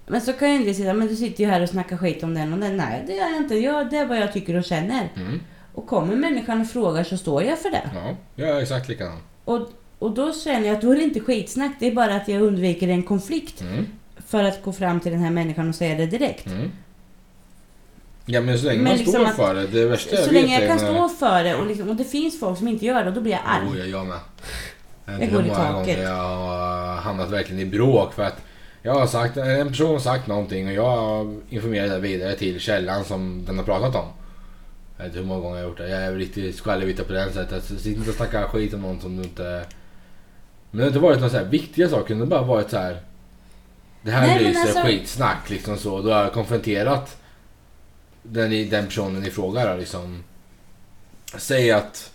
B: Men så kan jag inte säga, men du sitter ju här och snackar skit om den och den. Nej, det gör jag inte. Jag, det är vad jag tycker och känner.
A: Mm.
B: Och kommer människan och frågar så står jag för det.
A: Ja, jag är exakt likadan.
B: Och, och då känner jag att då är det inte skitsnack, det är bara att jag undviker en konflikt
A: Mm.
B: för att gå fram till den här människan och säga det direkt.
A: Mm. Ja, men så länge
B: Men
A: man
B: liksom
A: står
B: att-
A: för det. Det värsta
B: Så
A: vet
B: länge jag
A: är
B: kan
A: när-
B: stå för det och, liksom, och det finns folk som inte gör det och då blir jag
A: Jo,
B: arg.
A: jag, jag med. Det är
B: Jag
A: inte
B: går i
A: många
B: taket.
A: gånger Jag har hamnat verkligen i bråk för att jag har sagt, en person har sagt någonting och jag informerar det vidare till källan som den har pratat om. Jag vet inte hur många gånger jag har gjort det. Jag är riktigt skvallerbytta på det sättet. Så Sitt inte och snacka skit om någon som du inte... Men det har inte varit några så här viktiga saker. Det har bara varit så här. Det här
B: Nej, men
A: lyser
B: alltså-
A: skitsnack liksom så. Då har jag konfronterat den, i- den personen i fråga då, liksom. Säg att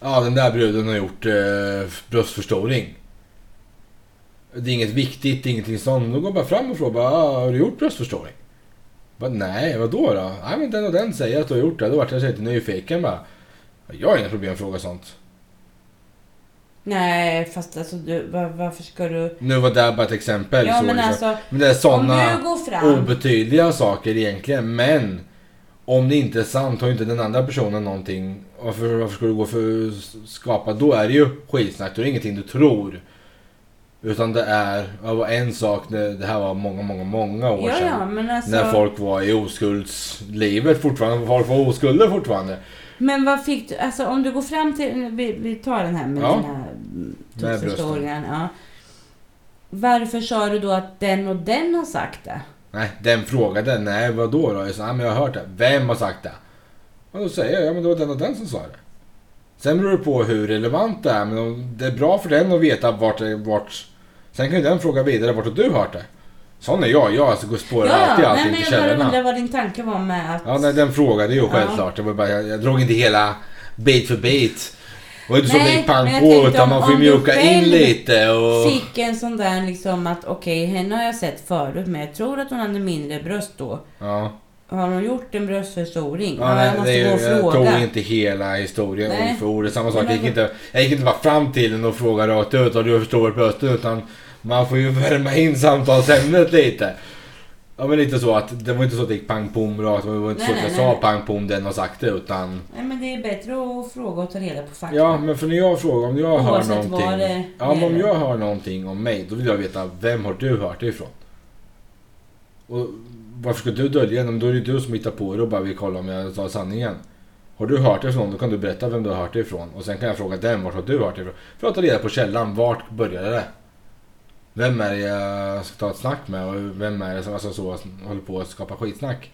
A: ja, den där bruden har gjort eh, bröstförstoring. Det är inget viktigt, det är ingenting sånt. Då går jag bara fram och frågar ah, har du gjort bröstförstoring? Bara, Nej, vadå då? Nej men den och den säger att du har gjort det. Då vart jag så lite nyfiken bara. Jag har inga problem att fråga sånt.
B: Nej, fast alltså du, var, varför ska du...
A: Nu var det bara ett exempel.
B: Ja,
A: så,
B: men
A: liksom.
B: alltså,
A: men det är
B: om
A: sådana...
B: du går fram...
A: obetydliga saker egentligen, men om det inte är sant har ju inte den andra personen någonting. Varför, varför skulle du gå för att skapa? Då är det ju skitsnack, då är det ingenting du tror. Utan det är, det var en sak, när- det här var många, många, många år
B: Ja,
A: sedan.
B: ja, men alltså...
A: När folk var i oskuldslivet fortfarande, folk var oskulder fortfarande.
B: Men vad fick du, alltså om du går fram till, vi, vi tar den här med
A: Ja.
B: den här mm,
A: Med brösten.
B: tusenstålingen. Ja. Varför sa du då att den och den har sagt det?
A: Nej, den frågade, nej vad då då? Jag sa, nej men jag har hört det. Vem har sagt det? Och då säger jag, ja men det var den och den som sa det. Sen beror det på hur relevant det är, men om det är bra för den att veta vart, det- vart... Sen kan ju den fråga vidare, vart har du hört det? Sån är jag, jag alltså går och spårar
B: nej,
A: alltid allting
B: men jag
A: till
B: bara
A: källorna.
B: undrar vad din tanke var med att...
A: Ja, nej, den frågade ju
B: Ja.
A: självklart. Det var bara, jag, jag drog inte hela bit för bit. Det var inte så att
B: Nej,
A: det gick pang
B: men jag
A: på,
B: tänkte
A: utan
B: om-
A: man får ju
B: om du
A: mjuka in
B: själv
A: lite och...
B: Fick en sån där liksom att okej, henne har jag sett förut men jag tror att hon hade mindre bröst då.
A: Ja.
B: Har hon gjort en bröstförstoring?
A: Ja,
B: Ja,
A: nej,
B: jag måste gå
A: det, är-
B: och
A: jag tog
B: fråga.
A: inte hela historien
B: Nej.
A: ord för ord. Det är Samma sak,
B: Men
A: jag gick,
B: jag-
A: inte, jag gick inte bara fram till den och frågade rakt ut och du förstår brösten utan man får ju värma in samtalsämnet lite. Ja men lite så att det var inte så att det gick pang pom rakt, det var inte
B: Nej,
A: så att jag
B: nej,
A: sa
B: nej.
A: pang pom den har sagt det utan.
B: Nej men det är bättre att fråga och ta reda på fakta.
A: Ja men för när jag frågar om jag hör
B: Oavsett vad
A: någonting.
B: det
A: Ja men om
B: gäller.
A: jag hör någonting om mig då vill jag veta vem har du hört det ifrån? Och varför ska du dölja det? Men Då är det ju du som hittar på det och bara vill kolla om jag sa sanningen. Har du hört det ifrån då kan du berätta vem du har hört det ifrån. Och sen kan jag fråga den vart har du hört det ifrån? För att ta reda på källan. Vart började det? Vem är det jag ska ta ett snack med och vem är det som alltså, så, håller på att skapa skitsnack?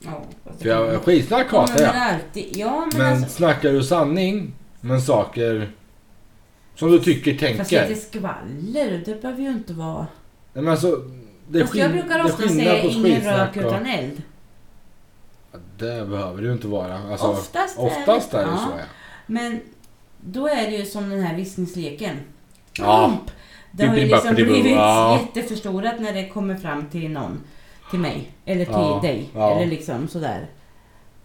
B: Ja, fast det
A: För jag,
B: kan-
A: skitsnack
B: Ja,
A: hatar
B: men
A: jag.
B: alltid. Ja, men,
A: Men
B: alltså,
A: snackar du sanning, men saker som du tycker,
B: Fast
A: tänker.
B: lite skvaller, det behöver ju inte vara...
A: Nej, men alltså, det är
B: Fast jag
A: skin- det
B: brukar
A: är
B: ofta
A: skillnad
B: säga
A: på
B: ingen
A: skitsnack
B: rök
A: och-
B: utan eld.
A: Ja, Det behöver det ju inte vara. Alltså, oftast,
B: oftast,
A: är det
B: ja.
A: så ja.
B: Men då är det ju som den här viskningsleken.
A: Ja.
B: Klump! Det har ju
A: Bip, bap,
B: liksom
A: bidi, bo.
B: blivit
A: Ja.
B: jätteförstorat när det kommer fram till någon. Till mig. Eller till
A: Ja,
B: dig.
A: ja.
B: Eller liksom sådär.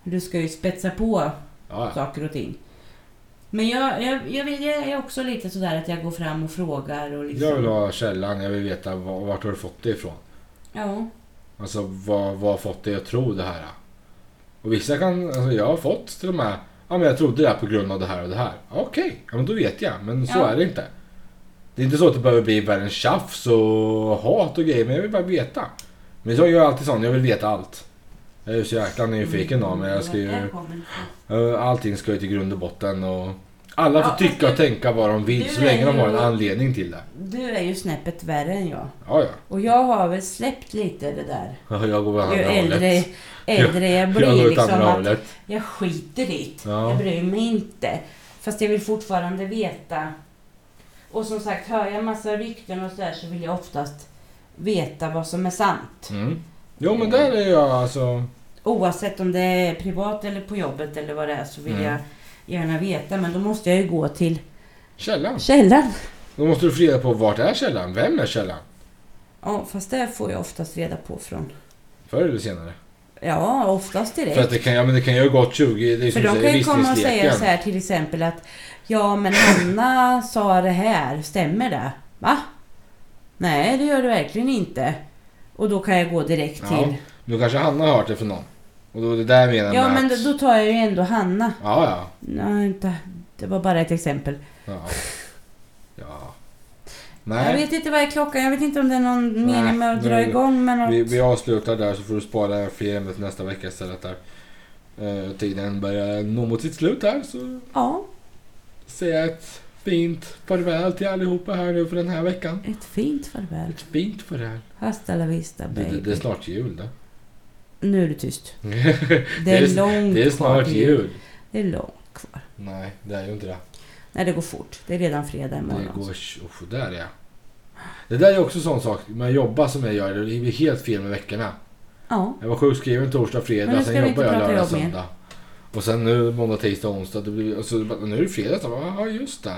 B: Du ska ju spetsa på
A: Ja, ja.
B: saker och ting. Men jag, jag, jag, vet- jag är också lite sådär att jag går fram och frågar och liksom...
A: Jag vill ha källan, jag vill veta var, vart har du fått det ifrån.
B: Ja.
A: Alltså vad, vad har fått dig att tro det här? Och vissa kan, alltså jag har fått till och med, ja men jag trodde det här på grund av det här och det här. Ja, Okej, ja men då vet jag, men så
B: Ja.
A: är det inte. Det är inte så att det behöver bli världens tjafs och hat och grejer, men jag vill bara veta. Men jag gör alltid sånt, jag vill veta allt. Jag är ju så jäkla nyfiken av mig, jag ska ju,
B: Mm, Där kommer det.
A: eh, allting ska ju till grund och botten och alla får
B: Ja,
A: tycka och tänka vad de
B: du
A: vill så
B: är
A: länge de har en
B: ju-
A: anledning till det.
B: Du är ju snäppet värre än jag.
A: Ja,
B: Och jag har väl släppt lite det där.
A: ja. Jag går
B: Ju
A: åt andra
B: äldre,
A: hållet.
B: äldre jag
A: Jag
B: blir
A: går åt
B: liksom
A: andra
B: att
A: hållet.
B: jag skiter i det.
A: Ja.
B: Jag bryr mig inte. Fast jag vill fortfarande veta. Och som sagt, hör jag massa rykten och sådär så vill jag oftast veta vad som är sant.
A: Mm. Jo men där är jag alltså...
B: Oavsett om det är privat eller på jobbet eller vad det är så vill
A: Mm.
B: jag gärna veta. Men då måste jag ju gå till
A: Källan.
B: källan.
A: Då måste du få reda på vart är källan? Vem är källan?
B: Ja, fast det får jag oftast reda på från.
A: Förr eller senare.
B: Ja, oftast direkt.
A: För att det kan, ja, men det kan ju ha gått 20... Det är
B: För
A: som
B: de kan
A: du säger,
B: ju komma och säga så
A: visningsleken.
B: här till exempel att Ja men Hanna sa det här, stämmer det? Va? Nej det gör det verkligen inte. Och då kan jag gå direkt
A: Ja,
B: till...
A: Nu kanske Hanna har hört det från någon. Och då är det där jag menar
B: Ja
A: med
B: men
A: att-
B: då tar jag ju ändå Hanna.
A: Ja, ja.
B: Nej, inte. Det var bara ett exempel.
A: Ja. ja.
B: Jag
A: Nej.
B: vet inte vad är klockan, jag vet inte om det är någon
A: Nej,
B: mening med att dra
A: nu-
B: igång med något.
A: Vi, vi avslutar där så får du spara fler ämnen till nästa vecka istället där. Eh, tiden börjar nå mot sitt slut här så
B: Ja,
A: säger jag ett fint farväl till allihopa här nu för den här veckan.
B: ett fint farväl.
A: Ett fint farväl.
B: Hasta la vista
A: Det,
B: baby.
A: det, det är snart jul det.
B: Nu är det tyst. Det
A: Det
B: är,
A: är s-
B: långt
A: Det
B: kvar
A: är snart
B: till
A: jul.
B: Det är långt kvar.
A: Nej, det är ju inte det.
B: Nej det går fort. Det är redan fredag imorgon.
A: Det går... Usch, där ja. Det där är också en sån sak. När jag jobbar som jag gör, det blir helt fel med veckorna.
B: Ja.
A: Jag var sjukskriven torsdag,
B: Men
A: fredag,
B: nu ska
A: sen
B: vi
A: jobbar
B: inte
A: jag
B: prata
A: lördag,
B: jobb mer.
A: söndag. Och sen nu måndag, tisdag, onsdag. Det blir, och så, bara, nu är det fredag. Så, bara, ja, just det.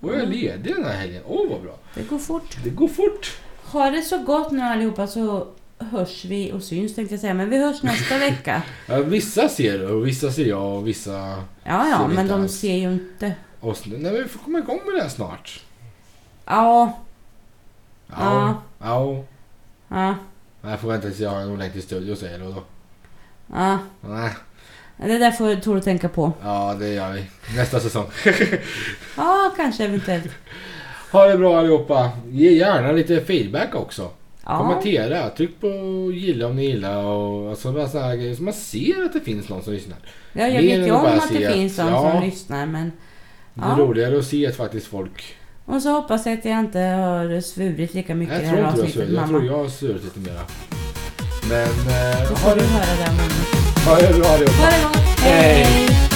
A: Och jag är
B: Mm.
A: ledig den här helgen. Åh, vad bra.
B: Det går fort.
A: Det går fort.
B: Ha det så gott nu allihopa så hörs vi och syns tänkte jag säga, men vi hörs nästa vecka.
A: Ja, vissa ser du och vissa ser jag och vissa
B: Ja,
A: Ser
B: ja,
A: vi
B: men
A: inte
B: de
A: alls.
B: ser ju inte.
A: oss. Nej, men vi får komma igång med det här snart.
B: Ja,
A: Ja. Ja.
B: ja,
A: Jag får vänta tills jag har en ordentlig studio säger du då.
B: ja.
A: Nej,
B: Det där får Tor tänka på.
A: ja det gör vi. Nästa säsong.
B: Ja, kanske eventuellt.
A: Ha det bra allihopa. Ge gärna lite feedback också.
B: Ja,
A: Kommentera, tryck på gilla om ni gillar och alltså bara såna här grejer så man ser att det finns någon som lyssnar.
B: ja jag
A: mer än
B: vet ju
A: att
B: om
A: bara
B: att
A: se
B: det
A: att-
B: finns de
A: ja.
B: som lyssnar, men...
A: Det
B: Ja.
A: är roligare att se att faktiskt folk...
B: Och så hoppas jag att jag inte har svurit lika mycket i
A: Jag
B: det
A: tror
B: här
A: inte du har
B: avsnittet,
A: surit, jag tror
B: mamma.
A: jag har surit lite mera. Men eh,
B: Då
A: ha,
B: får du
A: det,
B: höra det, mamma.
A: ha det bra allihopa.
B: Ha det gott!
A: Hej.
B: Hej!